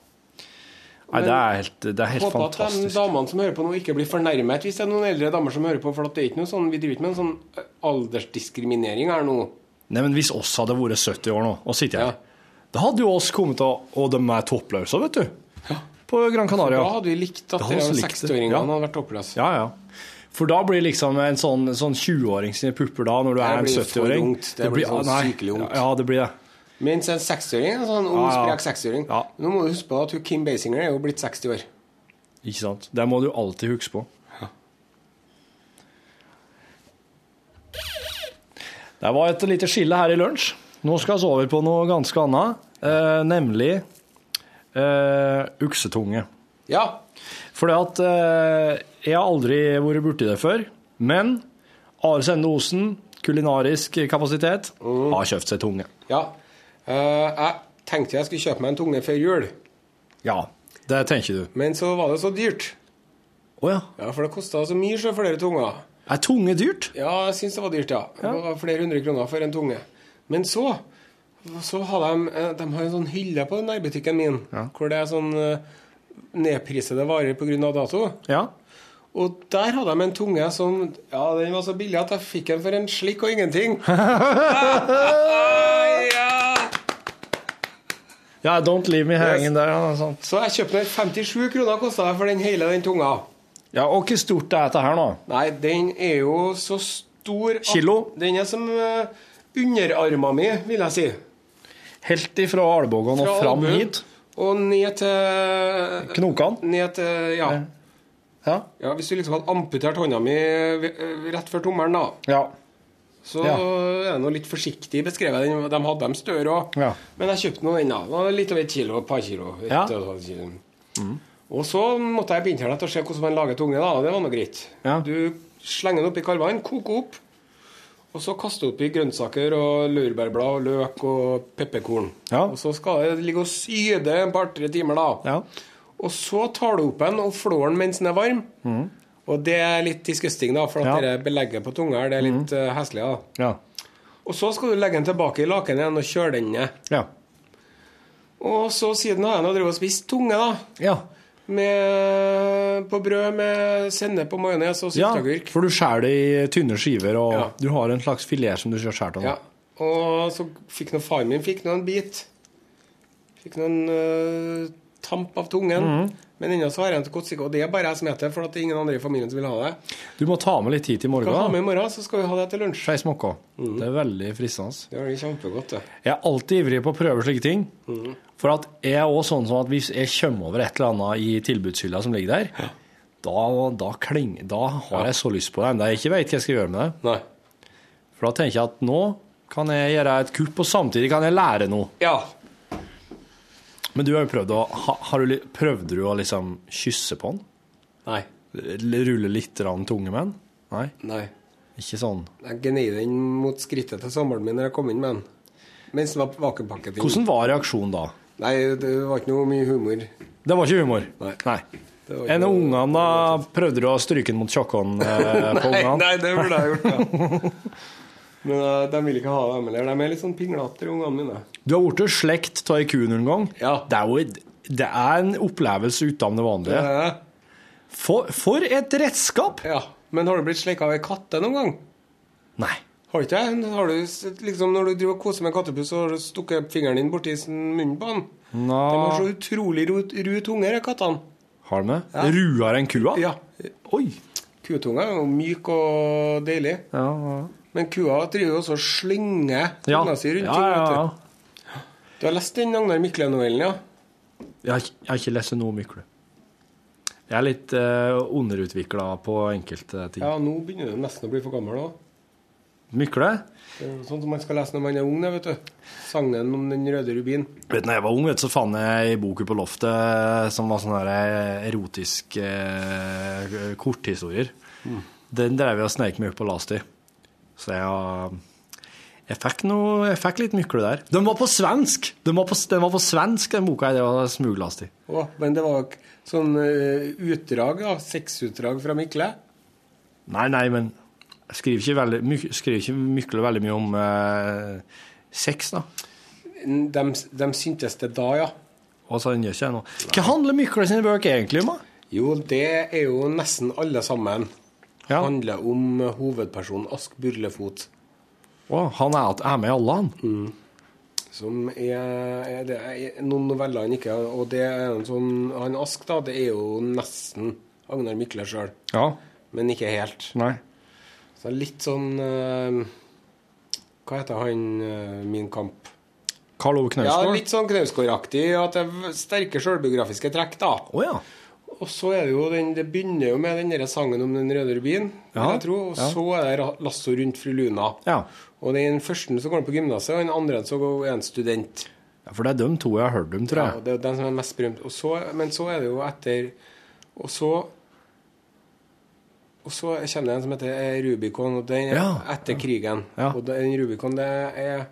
Speaker 4: Nei,
Speaker 2: Men-
Speaker 4: det er helt, det er helt
Speaker 2: Håper at de
Speaker 4: fantastisk.
Speaker 2: damene som hører på nå, ikke blir fornærmet hvis det er noen eldre damer som hører på. For at det er ikke noe sånn, vi driver ikke med en sånn eh, aldersdiskriminering her nå.
Speaker 4: Nei, men Hvis oss hadde vært 70 år nå og sittet her,
Speaker 2: Ja.
Speaker 4: da hadde jo oss kommet til å Og de er toppløse, vet du. På Gran Canaria.
Speaker 2: Da hadde vi likt
Speaker 4: Da
Speaker 2: at
Speaker 4: hadde
Speaker 2: de
Speaker 4: vi likt det.
Speaker 2: 60-åringene
Speaker 4: Ja.
Speaker 2: hadde vært toppløse.
Speaker 4: Ja, ja. For da blir liksom en sånn, sånn 20-åring sine pupper da, når du er en
Speaker 2: blir for
Speaker 4: 70-åring
Speaker 2: ungt. Det blir sånn
Speaker 4: nei,
Speaker 2: sykelig ungt.
Speaker 4: Ja, det blir det.
Speaker 2: Mens en 60-åring, en sånn ung,
Speaker 4: Ja, ja.
Speaker 2: sprek 60-åring
Speaker 4: Ja.
Speaker 2: Nå må du huske på at hun Kim Basinger er jo blitt 60 år.
Speaker 4: Ikke sant? Det må du alltid huske på. Det var et lite skille her i lunsj. Nå skal vi over på noe ganske annet, eh, nemlig eh, uksetunge.
Speaker 2: Ja.
Speaker 4: Fordi at eh, jeg har aldri vært borti det før, men Are Sende Osen, kulinarisk kapasitet, har kjøpt seg tunge.
Speaker 2: ja. Eh, jeg tenkte jeg skulle kjøpe meg en tunge før jul.
Speaker 4: Ja, det tenker du.
Speaker 2: Men så var det så dyrt.
Speaker 4: Å ja.
Speaker 2: Ja, for det kosta så mye så flere tunger.
Speaker 4: Er tunge dyrt?
Speaker 2: Ja, jeg syns det var dyrt, ja. Det var flere hundre kroner for en tunge. Men så så har de, eh, de har en sånn hylle på nærbutikken min hvor det er sånn eh, nedprisede varer pga. dato.
Speaker 4: Ja.
Speaker 2: Og der hadde de en tunge som Ja, den var så billig at jeg fikk den for en slikk og
Speaker 4: (laughs)
Speaker 2: ingenting. ja.
Speaker 4: Ja, don't leave me hanging der. Ja, sant.
Speaker 2: Så jeg kjøpte den 57 kroner kosta det for den hele den tunga.
Speaker 4: Ja, og hvor stort er dette her nå?
Speaker 2: Nei, den er jo så stor at-
Speaker 4: Kilo?
Speaker 2: Den er som uh, underarma mi, vil jeg si.
Speaker 4: Helt ifra albuen og
Speaker 2: Fra
Speaker 4: fram
Speaker 2: albuen
Speaker 4: hit?
Speaker 2: Og ned til
Speaker 4: Knokene?
Speaker 2: Ned til Ja.
Speaker 4: Ja.
Speaker 2: ja hvis du liksom hadde amputert hånda mi ved- eh, rett før tommelen, da,
Speaker 4: ja.
Speaker 2: så
Speaker 4: Ja.
Speaker 2: er det noe litt forsiktig beskrevet. Den- De hadde dem større òg.
Speaker 4: Ja.
Speaker 2: Men jeg kjøpte nå den, da. Det var Litt over et kilo, et par kilo. Et
Speaker 4: Ja. Mm.
Speaker 2: og et halvt kilo. Og så måtte jeg på internett og se hvordan man lager tunge, da. og Det var nå greit.
Speaker 4: Ja.
Speaker 2: Du slenger den oppi kalvene, koker opp, Og så kaste oppi grønnsaker og laurbærblad og løk og pepperkorn.
Speaker 4: Ja.
Speaker 2: Og så skal det ligge og syde en par-tre timer, da.
Speaker 4: Ja.
Speaker 2: Og så tar du opp den og flår den mens den er varm. Og det er litt disgusting, da, for at
Speaker 4: Mm. Ja.
Speaker 2: dette belegget på tunga her, det er litt mm. heslig. da.
Speaker 4: Ja.
Speaker 2: Og så skal du legge den tilbake i lakenet igjen og kjøle den ned.
Speaker 4: Ja.
Speaker 2: Og så siden har jeg nå drevet og spist tunge, da.
Speaker 4: ja.
Speaker 2: Med, på brød med sennep og majones og
Speaker 4: ja.
Speaker 2: sylteagurk.
Speaker 4: For du skjærer det i tynne skiver, og
Speaker 2: Ja.
Speaker 4: du har en slags filet som du skal skjære av.
Speaker 2: Ja. Og så fikk nå faren min fikk nå en bit. Fikk nå en øh, tamp av tungen. Men ennå så har jeg den til godtstykke. Og det er bare jeg som spiser det, for at det er ingen andre i familien som vil ha det.
Speaker 4: Du må ta med litt tid til i
Speaker 2: Kan ta med
Speaker 4: morgen.
Speaker 2: i morgen, så skal vi ha det til lunsj.
Speaker 4: Skei smokke. Det er veldig fristende.
Speaker 2: Det blir kjempegodt, det.
Speaker 4: Jeg er alltid ivrig på å prøve slike ting. For at jeg er også sånn som at hvis jeg kommer over et eller annet i tilbudshylla som ligger der, da, da, kling, da har jeg så lyst på det enda jeg ikke vet hva jeg skal gjøre med det.
Speaker 2: Nei.
Speaker 4: For da tenker jeg at nå kan jeg gjøre et kupp, og samtidig kan jeg lære noe.
Speaker 2: Ja.
Speaker 4: Men du har jo prøvd å ha, har du, li- Prøvde du å liksom kysse på den?
Speaker 2: Nei.
Speaker 4: L- Rulle litt rann tunge med den? Nei,
Speaker 2: Nei.
Speaker 4: ikke sånn.
Speaker 2: Jeg gnei den mot skrittet til samboeren min når jeg kom inn med den. Mens det var vakuumpakket inn.
Speaker 4: Hvordan var reaksjonen da?
Speaker 2: Nei, det var ikke noe mye humor.
Speaker 4: Det var ikke humor?
Speaker 2: Nei. Det var ikke
Speaker 4: En av
Speaker 2: noe-
Speaker 4: ungene da prøvde du å stryke den mot tjokkhånden eh, på
Speaker 2: (laughs) Nei,
Speaker 4: ungene?
Speaker 2: nei, det burde jeg gjort, ja. Men eh, de vil ikke ha dem heller. De er litt sånn pinglete, de ungene mine.
Speaker 4: Du har blitt slekt av ei ku noen gang.
Speaker 2: Ja.
Speaker 4: Det er jo det er en opplevelse utenom det vanlige.
Speaker 2: Eh,
Speaker 4: For, for et redskap!
Speaker 2: Ja. Men har du blitt slikka av ei katte noen gang?
Speaker 4: Nei.
Speaker 2: Har ikke jeg? Har du, sett- liksom, når du driver og koser med en kattepus, så har du stukket fingeren din borti sin munnen på den?
Speaker 4: Nå.
Speaker 2: De har så utrolig ru, ru tunge, de kattene.
Speaker 4: Har du det? Ruer en kua?
Speaker 2: Ja.
Speaker 4: Oi.
Speaker 2: Kutunga er jo myk og deilig.
Speaker 4: Ja,
Speaker 2: Men kua driver jo også og slynger
Speaker 4: ja.
Speaker 2: tunga si rundt
Speaker 4: ja,
Speaker 2: ting.
Speaker 4: ja,
Speaker 2: vet
Speaker 4: ja.
Speaker 2: du. Du har lest den Agnar Mykle-novellen, ja?
Speaker 4: Jeg har, ikke- jeg har ikke lest noe om mykle. Jeg er litt uh, underutvikla på enkelte ting.
Speaker 2: Ja, nå begynner du nesten å bli for gammel òg.
Speaker 4: Mykle?
Speaker 2: Sånn som man skal lese når man er ung, det, vet du. Sangen om den røde rubin.
Speaker 4: Vet du, når jeg var ung, vet, du, så fant jeg ei bok på loftet som var sånn sånne her erotiske eh, korthistorier. Den drev jeg og sneik meg opp og leste i. Så jeg, har- jeg, fikk noe, jeg fikk litt mykle der. Den var på svensk! Den var på, den var på svensk, den boka jeg drev og smugleste i.
Speaker 2: Å, men det var k- sånn eh, utdrag, da. Sexutdrag fra Mykle.
Speaker 4: Nei, nei, men jeg skriver ikke, veldig, myk- skriver ikke mykle veldig mye om eh, sex, da.
Speaker 2: De, syntes det da, ja.
Speaker 4: Og så den gjør ikke jeg nå. Hva handler mykle sine bøker egentlig om? da?
Speaker 2: Jo, det er jo nesten alle sammen.
Speaker 4: Ja.
Speaker 2: Handler om hovedpersonen Ask Burlefot.
Speaker 4: Å, han er, er med i alle, han.
Speaker 2: Som er, er det er noen noveller han ikke har. Og det er en sånn Han Ask, da, det er jo nesten Agnar Mykle sjøl.
Speaker 4: Ja.
Speaker 2: Men ikke helt.
Speaker 4: Nei.
Speaker 2: Så litt sånn eh, Hva heter han eh, Min kamp?
Speaker 4: Karl Ove
Speaker 2: Ja,
Speaker 4: Knausgård?
Speaker 2: litt sånn Knausgård-aktig. At det er v- sterke sjølbiografiske trekk, da.
Speaker 4: Å ja.
Speaker 2: Og så er det jo den Det begynner jo med den der sangen om den røde rubin, vil
Speaker 4: Ja,
Speaker 2: jeg tro. Og
Speaker 4: ja.
Speaker 2: så er det Ra- 'Lasso rundt fru Luna'.
Speaker 4: Ja.
Speaker 2: Og den første som går på gymnaset, og den andre så går- er en student.
Speaker 4: Ja, For det er de to jeg har hørt om, tror
Speaker 2: Ja, og
Speaker 4: jeg.
Speaker 2: det er jo den som er mest berømt. Og så, men så er det jo etter Og så og så kommer det en som heter eh, Rubicon, og den er
Speaker 4: Ja.
Speaker 2: etter krigen.
Speaker 4: Ja.
Speaker 2: Og den Rubicon, det er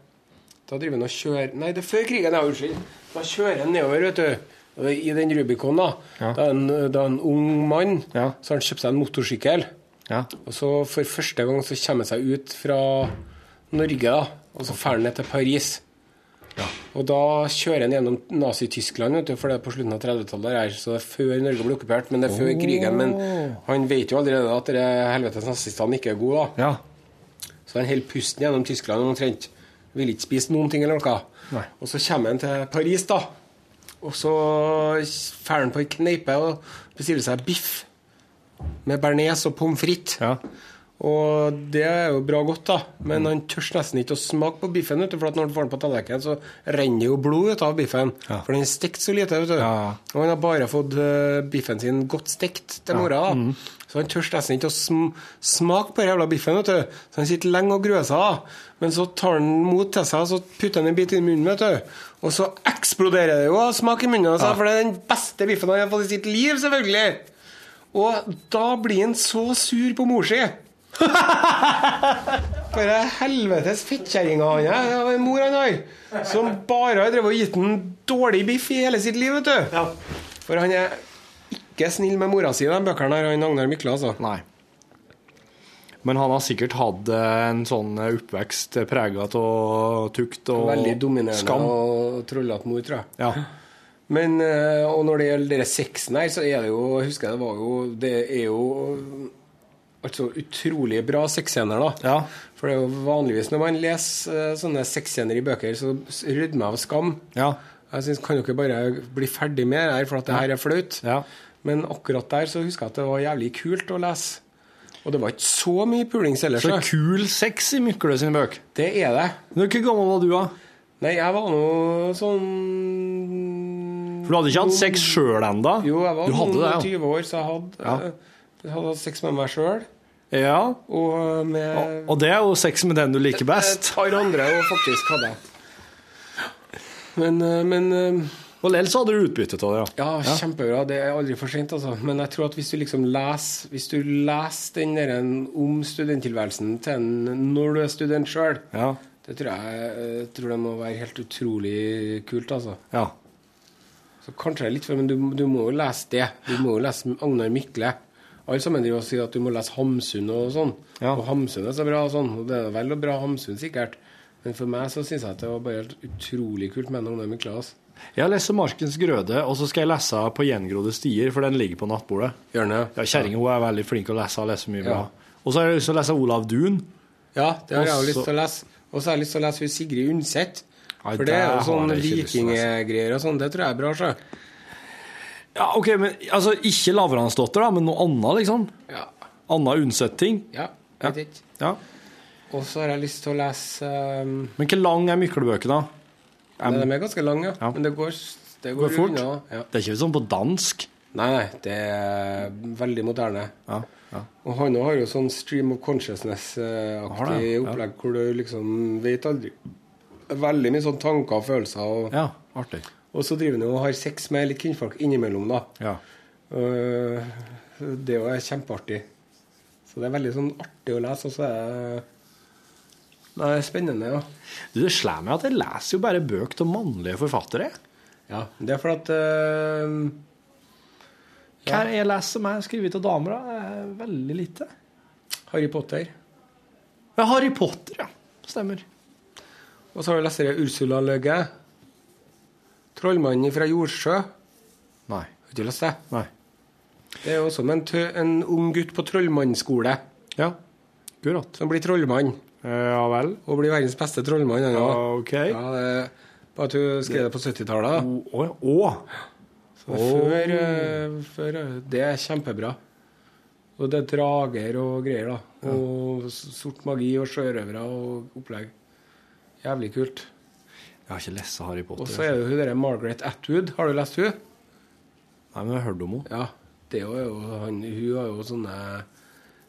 Speaker 2: Da driver han og kjører Nei, det er før krigen, ja, unnskyld. Da kjører han nedover, vet du. Og I den Rubicon, da.
Speaker 4: Ja.
Speaker 2: Da er en, da er en ung mann
Speaker 4: Ja.
Speaker 2: så har han kjøpt seg en motorsykkel.
Speaker 4: Ja.
Speaker 2: Og så for første gang så kommer han seg ut fra Norge, da. Og så drar han ned til Paris. Og da kjører han gjennom Nazi-Tyskland, vet du, for det er på slutten av 30-tallet her. Så det er før Norge ble okkupert, men det er før krigen. Men han vet jo allerede at dere helvetes nazistene ikke er gode, da.
Speaker 4: Ja.
Speaker 2: Så han holder pusten gjennom Tyskland omtrent. Vil ikke spise noen ting eller noe.
Speaker 4: Nei.
Speaker 2: Og så kommer han til Paris, da. Og så drar han på ei kneipe og bestiller seg biff med bearnés og pommes frites.
Speaker 4: Ja.
Speaker 2: Og det er jo bra godt, da. Men han tør nesten ikke å smake på biffen, vet du, for at når han får den på tallerkenen, så renner jo blod ut av biffen.
Speaker 4: Ja.
Speaker 2: For den er stekt så lite, vet du.
Speaker 4: Ja.
Speaker 2: Og han har bare fått eh, biffen sin godt stekt til mora. da. Så han tør nesten ikke å sm smake på den jævla biffen, vet du. Så han sitter lenge og gruer seg. da. Men så tar han mot til seg, og så putter han en bit i munnen, vet du. Og så eksploderer det jo av smak i munnen, altså, for det er den beste biffen han har fått i sitt liv, selvfølgelig. Og da blir han så sur på mor si. for ei helvetes fettkjerringa han er. Det var en mor han har. Som bare har drevet og gitt han dårlig biff i hele sitt liv, vet du. For han er ikke snill med mora si, de bøkene her, han Agnar Mykle, altså.
Speaker 4: Nei. Men han har sikkert hatt eh, en sånn oppvekst prega av tukt og
Speaker 2: Veldig dominerende
Speaker 4: skam.
Speaker 2: og trollete mor, tror jeg.
Speaker 4: Ja.
Speaker 2: Men, eh, og når det gjelder dere sexen her, så er det jo jeg husker jeg det var jo, det er jo altså utrolig bra sexscener, da.
Speaker 4: Ja.
Speaker 2: For det er jo vanligvis når man leser eh, sånne sexscener i bøker, så s- rydmer jeg av skam.
Speaker 4: Ja.
Speaker 2: Jeg synes, Kan dere bare bli ferdig med det her, for at det her er flaut?
Speaker 4: Ja.
Speaker 2: Men akkurat der så husker jeg at det var jævlig kult å lese. Og det var ikke så mye pulings ellers.
Speaker 4: Så
Speaker 2: da.
Speaker 4: kul sex i Mykle sin bøk.
Speaker 2: Det er det.
Speaker 4: Men Hvor gammel var du, da?
Speaker 2: Nei, jeg var nå sånn
Speaker 4: For du hadde ikke hatt sex sjøl ennå?
Speaker 2: Jo, jeg var
Speaker 4: du hadde
Speaker 2: noen og
Speaker 4: det,
Speaker 2: 20 år, så jeg hadde,
Speaker 4: Ja.
Speaker 2: eh, jeg hadde hatt sex med meg sjøl.
Speaker 4: ja. ja.
Speaker 2: Og med
Speaker 4: Og det er jo sex med den du liker best.
Speaker 2: et par andre, og faktisk hadde jeg. Men, eh, men eh,
Speaker 4: Og likevel så hadde du utbytte av det, ja.
Speaker 2: Ja, kjempebra. Det er aldri for sent, altså. Men jeg tror at hvis du liksom leser Hvis du leser den der en om studenttilværelsen til en når du er student sjøl,
Speaker 4: Ja.
Speaker 2: det tror jeg, eh, tror det må være helt utrolig kult, altså.
Speaker 4: ja.
Speaker 2: Så kanskje det er litt for, men du, du må jo lese det. Du må jo lese Agnar Mykle. Alle sammen driver og sier at du må lese Hamsun og sånn.
Speaker 4: Ja.
Speaker 2: Og Hamsun er så bra og sånn. Og det er vel og bra Hamsun, sikkert. Men for meg så syns jeg at det var bare helt utrolig kult med en Agnar Mykle. Altså.
Speaker 4: Jeg leser 'Markens grøde', og så skal jeg lese 'På gjengrodde stier', for den ligger på nattbordet.
Speaker 2: Gjørne.
Speaker 4: Ja, Kjerringa hun er veldig flink til å lese, og leser mye bra.
Speaker 2: Ja.
Speaker 4: Og så har jeg lyst til å lese Olav Duun.
Speaker 2: Ja, det har jeg jo
Speaker 4: Også-
Speaker 2: lyst til å lese. Og så har jeg lyst til å lese hun Sigrid Undset.
Speaker 4: Nei,
Speaker 2: For det er jo
Speaker 4: det har
Speaker 2: sånn
Speaker 4: jeg ikke lyst til å lese.
Speaker 2: vikinggreier og sånn. Det tror jeg er bra. Så.
Speaker 4: Ja, ok, men altså, Ikke Lavransdotter, da, men noe annet, liksom?
Speaker 2: Ja.
Speaker 4: Anna Undset-ting?
Speaker 2: ja. jeg Vet ikke.
Speaker 4: Ja.
Speaker 2: Og så har jeg lyst til å lese um,
Speaker 4: Men hvor lang er Myklebøkene, da?
Speaker 2: Nei, De er ganske lange, ja.
Speaker 4: Ja.
Speaker 2: Men det går, det går,
Speaker 4: Går fort?
Speaker 2: unna, Ja.
Speaker 4: Det er ikke sånn på dansk?
Speaker 2: Nei, nei, det er veldig moderne.
Speaker 4: Ja. ja.
Speaker 2: Og han også har jo sånn stream of consciousness-aktig
Speaker 4: Har det, ja.
Speaker 2: opplegg hvor du liksom vet aldri Veldig mye sånn tanker og følelser. Og,
Speaker 4: ja artig.
Speaker 2: og så driver han jo og har sex med litt kvinnfolk innimellom, da.
Speaker 4: Ja.
Speaker 2: Eh, Det er jo kjempeartig. Så det er veldig sånn artig å lese, og så er det Nei, det er spennende, ja.
Speaker 4: Du, Det slår meg at jeg leser jo bare bøker av mannlige forfattere.
Speaker 2: ja. Det er fordi at eh,
Speaker 4: Hva er det jeg leser som er skrevet av damer, da? Det er Veldig lite.
Speaker 2: Harry Potter
Speaker 4: Ja, Harry Potter, ja. Stemmer.
Speaker 2: Og så har du lest det Ursula Løgge. 'Trollmannen fra Jordsjø'.
Speaker 4: Nei.
Speaker 2: Har du ikke lest det?
Speaker 4: Nei.
Speaker 2: Det er også om en, tø en ung gutt på trollmannsskole
Speaker 4: Ja. Akkurat.
Speaker 2: som blir trollmann.
Speaker 4: Ja vel.
Speaker 2: Og blir verdens beste trollmann. han også.
Speaker 4: Ok.
Speaker 2: Ja, det, bare at du skrev det på 70-tallet. da.
Speaker 4: Å, å, å.
Speaker 2: Så det er Før, eh, før eh, Det er kjempebra. Og det er drager og greier, da. Og s- sort magi og sjørøvere og opplegg. Jævlig kult.
Speaker 4: Jeg har ikke lest Harry Potter.
Speaker 2: Og så er det jo hun derre Margaret Atwood. Har du lest hun?
Speaker 4: Nei, men jeg har hørt om henne.
Speaker 2: Ja, det er jo han, hun har jo sånne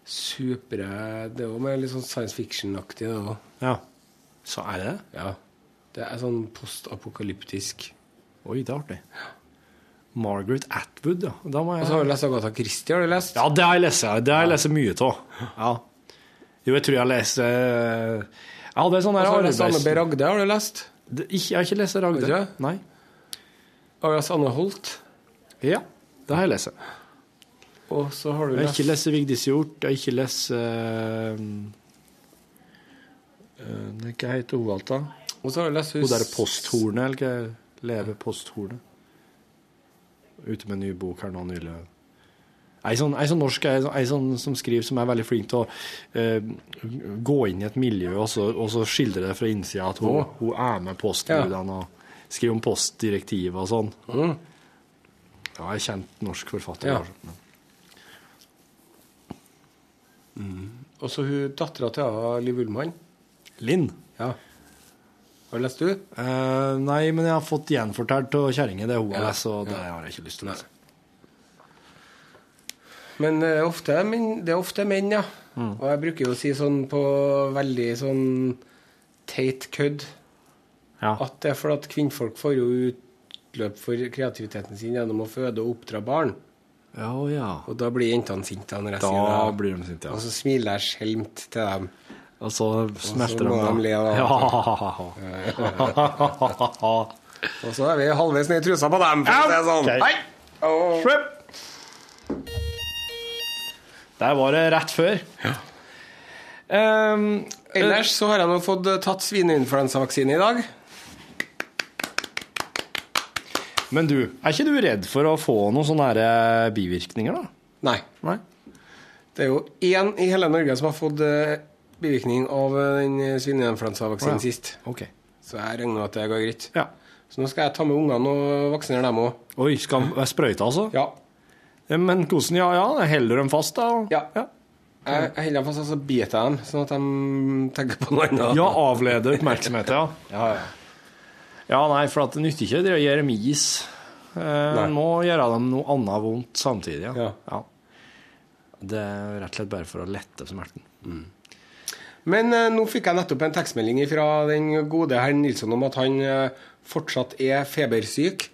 Speaker 2: supre Det er jo mer litt sånn science fiction-aktig, det òg.
Speaker 4: Ja. Så er det det?
Speaker 2: Ja. Det er sånn postapokalyptisk.
Speaker 4: Oi, det er artig. Margaret Atwood, ja. Da må
Speaker 2: Og
Speaker 4: jeg...
Speaker 2: så har du lest Agatha Christie, har du lest?
Speaker 4: Ja, det har jeg lest. ja. Det har jeg lest mye av. Ja. Jo, jeg tror jeg har lest eh, Jeg hadde
Speaker 2: Og
Speaker 4: en sånn der
Speaker 2: så har du
Speaker 4: arbeids...
Speaker 2: lest Anne B. Ragde, har du lest?
Speaker 4: Det- ikke, jeg har ikke lest
Speaker 2: Har du
Speaker 4: Ragde.
Speaker 2: ikke det?
Speaker 4: Nei.
Speaker 2: Har du lest Anne Holt?
Speaker 4: Ja, det har jeg lest.
Speaker 2: Og så har du
Speaker 4: Jeg har
Speaker 2: lest
Speaker 4: ikke lest Vigdis Hjorth. Jeg har ikke lest uh, eh, Hva heter hun alt da?
Speaker 2: Og så har du lest
Speaker 4: Hun der posthornet, eller hva leve posthornet. Ute med en ny bok her nå nylig. Ei sånn, ei sånn norsk ei sånn, ei sånn som skriver, som er veldig flink til å eh, gå inn i et miljø og så, og så skildre det fra innsida at hun, hun er med postbudene og skriver om postdirektivet og sånn.
Speaker 2: Mm.
Speaker 4: Ja, ei kjent norsk forfatter.
Speaker 2: Ja.
Speaker 4: altså.
Speaker 2: Og så hun dattera til Ava Liv Ullmann.
Speaker 4: Linn?
Speaker 2: Ja. Har du lest du?
Speaker 4: Eh, nei, men jeg har fått gjenfortalt av kjerringa det hun har
Speaker 2: Ja,
Speaker 4: lest, og det
Speaker 2: ja.
Speaker 4: har jeg ikke lyst til å lese.
Speaker 2: Men det er ofte, men, det er ofte menn, ja.
Speaker 4: Mm.
Speaker 2: Og jeg bruker jo å si sånn på veldig sånn teit kødd
Speaker 4: Ja.
Speaker 2: at det er fordi at kvinnfolk får jo utløp for kreativiteten sin gjennom å føde og oppdra barn.
Speaker 4: Ja, ja.
Speaker 2: Og da blir jentene sinte når jeg
Speaker 4: Da
Speaker 2: sier det.
Speaker 4: blir de sinte, ja.
Speaker 2: Og så smiler jeg skjelmt til dem.
Speaker 4: Og så smelter de.
Speaker 2: må de le, da.
Speaker 4: Ja. (laughs)
Speaker 2: Og så er vi halvveis ned i trusa på dem. For å si det sånn.
Speaker 4: Ok.
Speaker 2: Hei! Åh.
Speaker 4: Der var det rett før. Ehm,
Speaker 2: Ellers så har jeg nå fått eh, tatt svineinfluensavaksine i dag.
Speaker 4: men du, er ikke du redd for å få noen sånne her eh, bivirkninger, da?
Speaker 2: Nei.
Speaker 4: Nei.
Speaker 2: Det er jo én i hele Norge som har fått eh, bivirkning av eh, den eh, svineinfluensavaksinen
Speaker 4: Å, ja.
Speaker 2: sist.
Speaker 4: Ok.
Speaker 2: Så jeg regner med at det går greit.
Speaker 4: Ja.
Speaker 2: Så nå skal jeg ta med ungene og vaksinere dem òg.
Speaker 4: Oi, skal han være sprøyte, altså? Eh,
Speaker 2: Ja.
Speaker 4: Men kosen, ja ja, holder du dem fast, da? og-
Speaker 2: Ja. Jeg jeg holder dem fast, og så biter jeg dem, sånn at de tenker på noe annet.
Speaker 4: Ja, avlede oppmerksomhet, ja. ja, nei, for at det nytter ikke å gjøre dem is. Eh, En må gjøre dem noe annet vondt samtidig. Ja.
Speaker 2: Ja.
Speaker 4: Ja. Det er rett og slett bare for å lette smerten.
Speaker 2: Men eh, nå fikk jeg nettopp en tekstmelding fra den gode herr Nilsson om at han eh, fortsatt er febersyk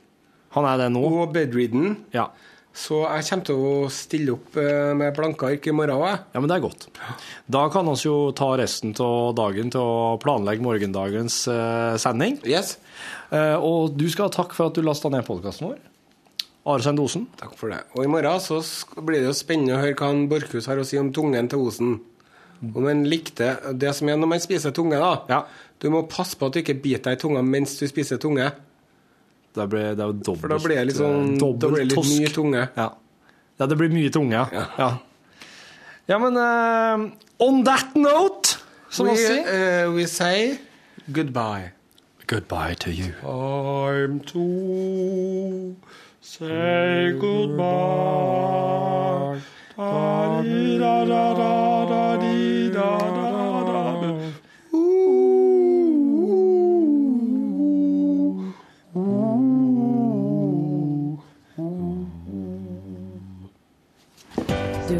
Speaker 4: Han er det nå?
Speaker 2: og bedridden.
Speaker 4: Ja.
Speaker 2: Så jeg kommer til å stille opp eh, med blanke ark i morgen òg.
Speaker 4: ja, men det er godt. Da kan vi jo ta resten av dagen til å planlegge morgendagens eh, sending.
Speaker 2: Yes.
Speaker 4: Eh, og du skal ha takk for at du lasta ned podkasten vår. Are Sein Osen.
Speaker 2: Takk for det. Og i morgen så sk- blir det jo spennende å høre hva han Borchhus har å si om tungen til Osen. Om han likte det som er når man spiser tunge, da.
Speaker 4: Ja.
Speaker 2: Du må passe på at du ikke biter deg i tunga mens du spiser tunge.
Speaker 4: Det, blir, det er jo dobbelt
Speaker 2: For da blir det litt sånn-
Speaker 4: eh, dobbelt
Speaker 2: da blir det litt
Speaker 4: tosk.
Speaker 2: mye tunge.
Speaker 4: Ja. ja, det blir mye tunge, ja. Ja, ja men eh, on that note, som
Speaker 2: we,
Speaker 4: man sier
Speaker 2: eh, we say goodbye.
Speaker 4: Goodbye to you.
Speaker 2: Time to say goodbye.
Speaker 1: Du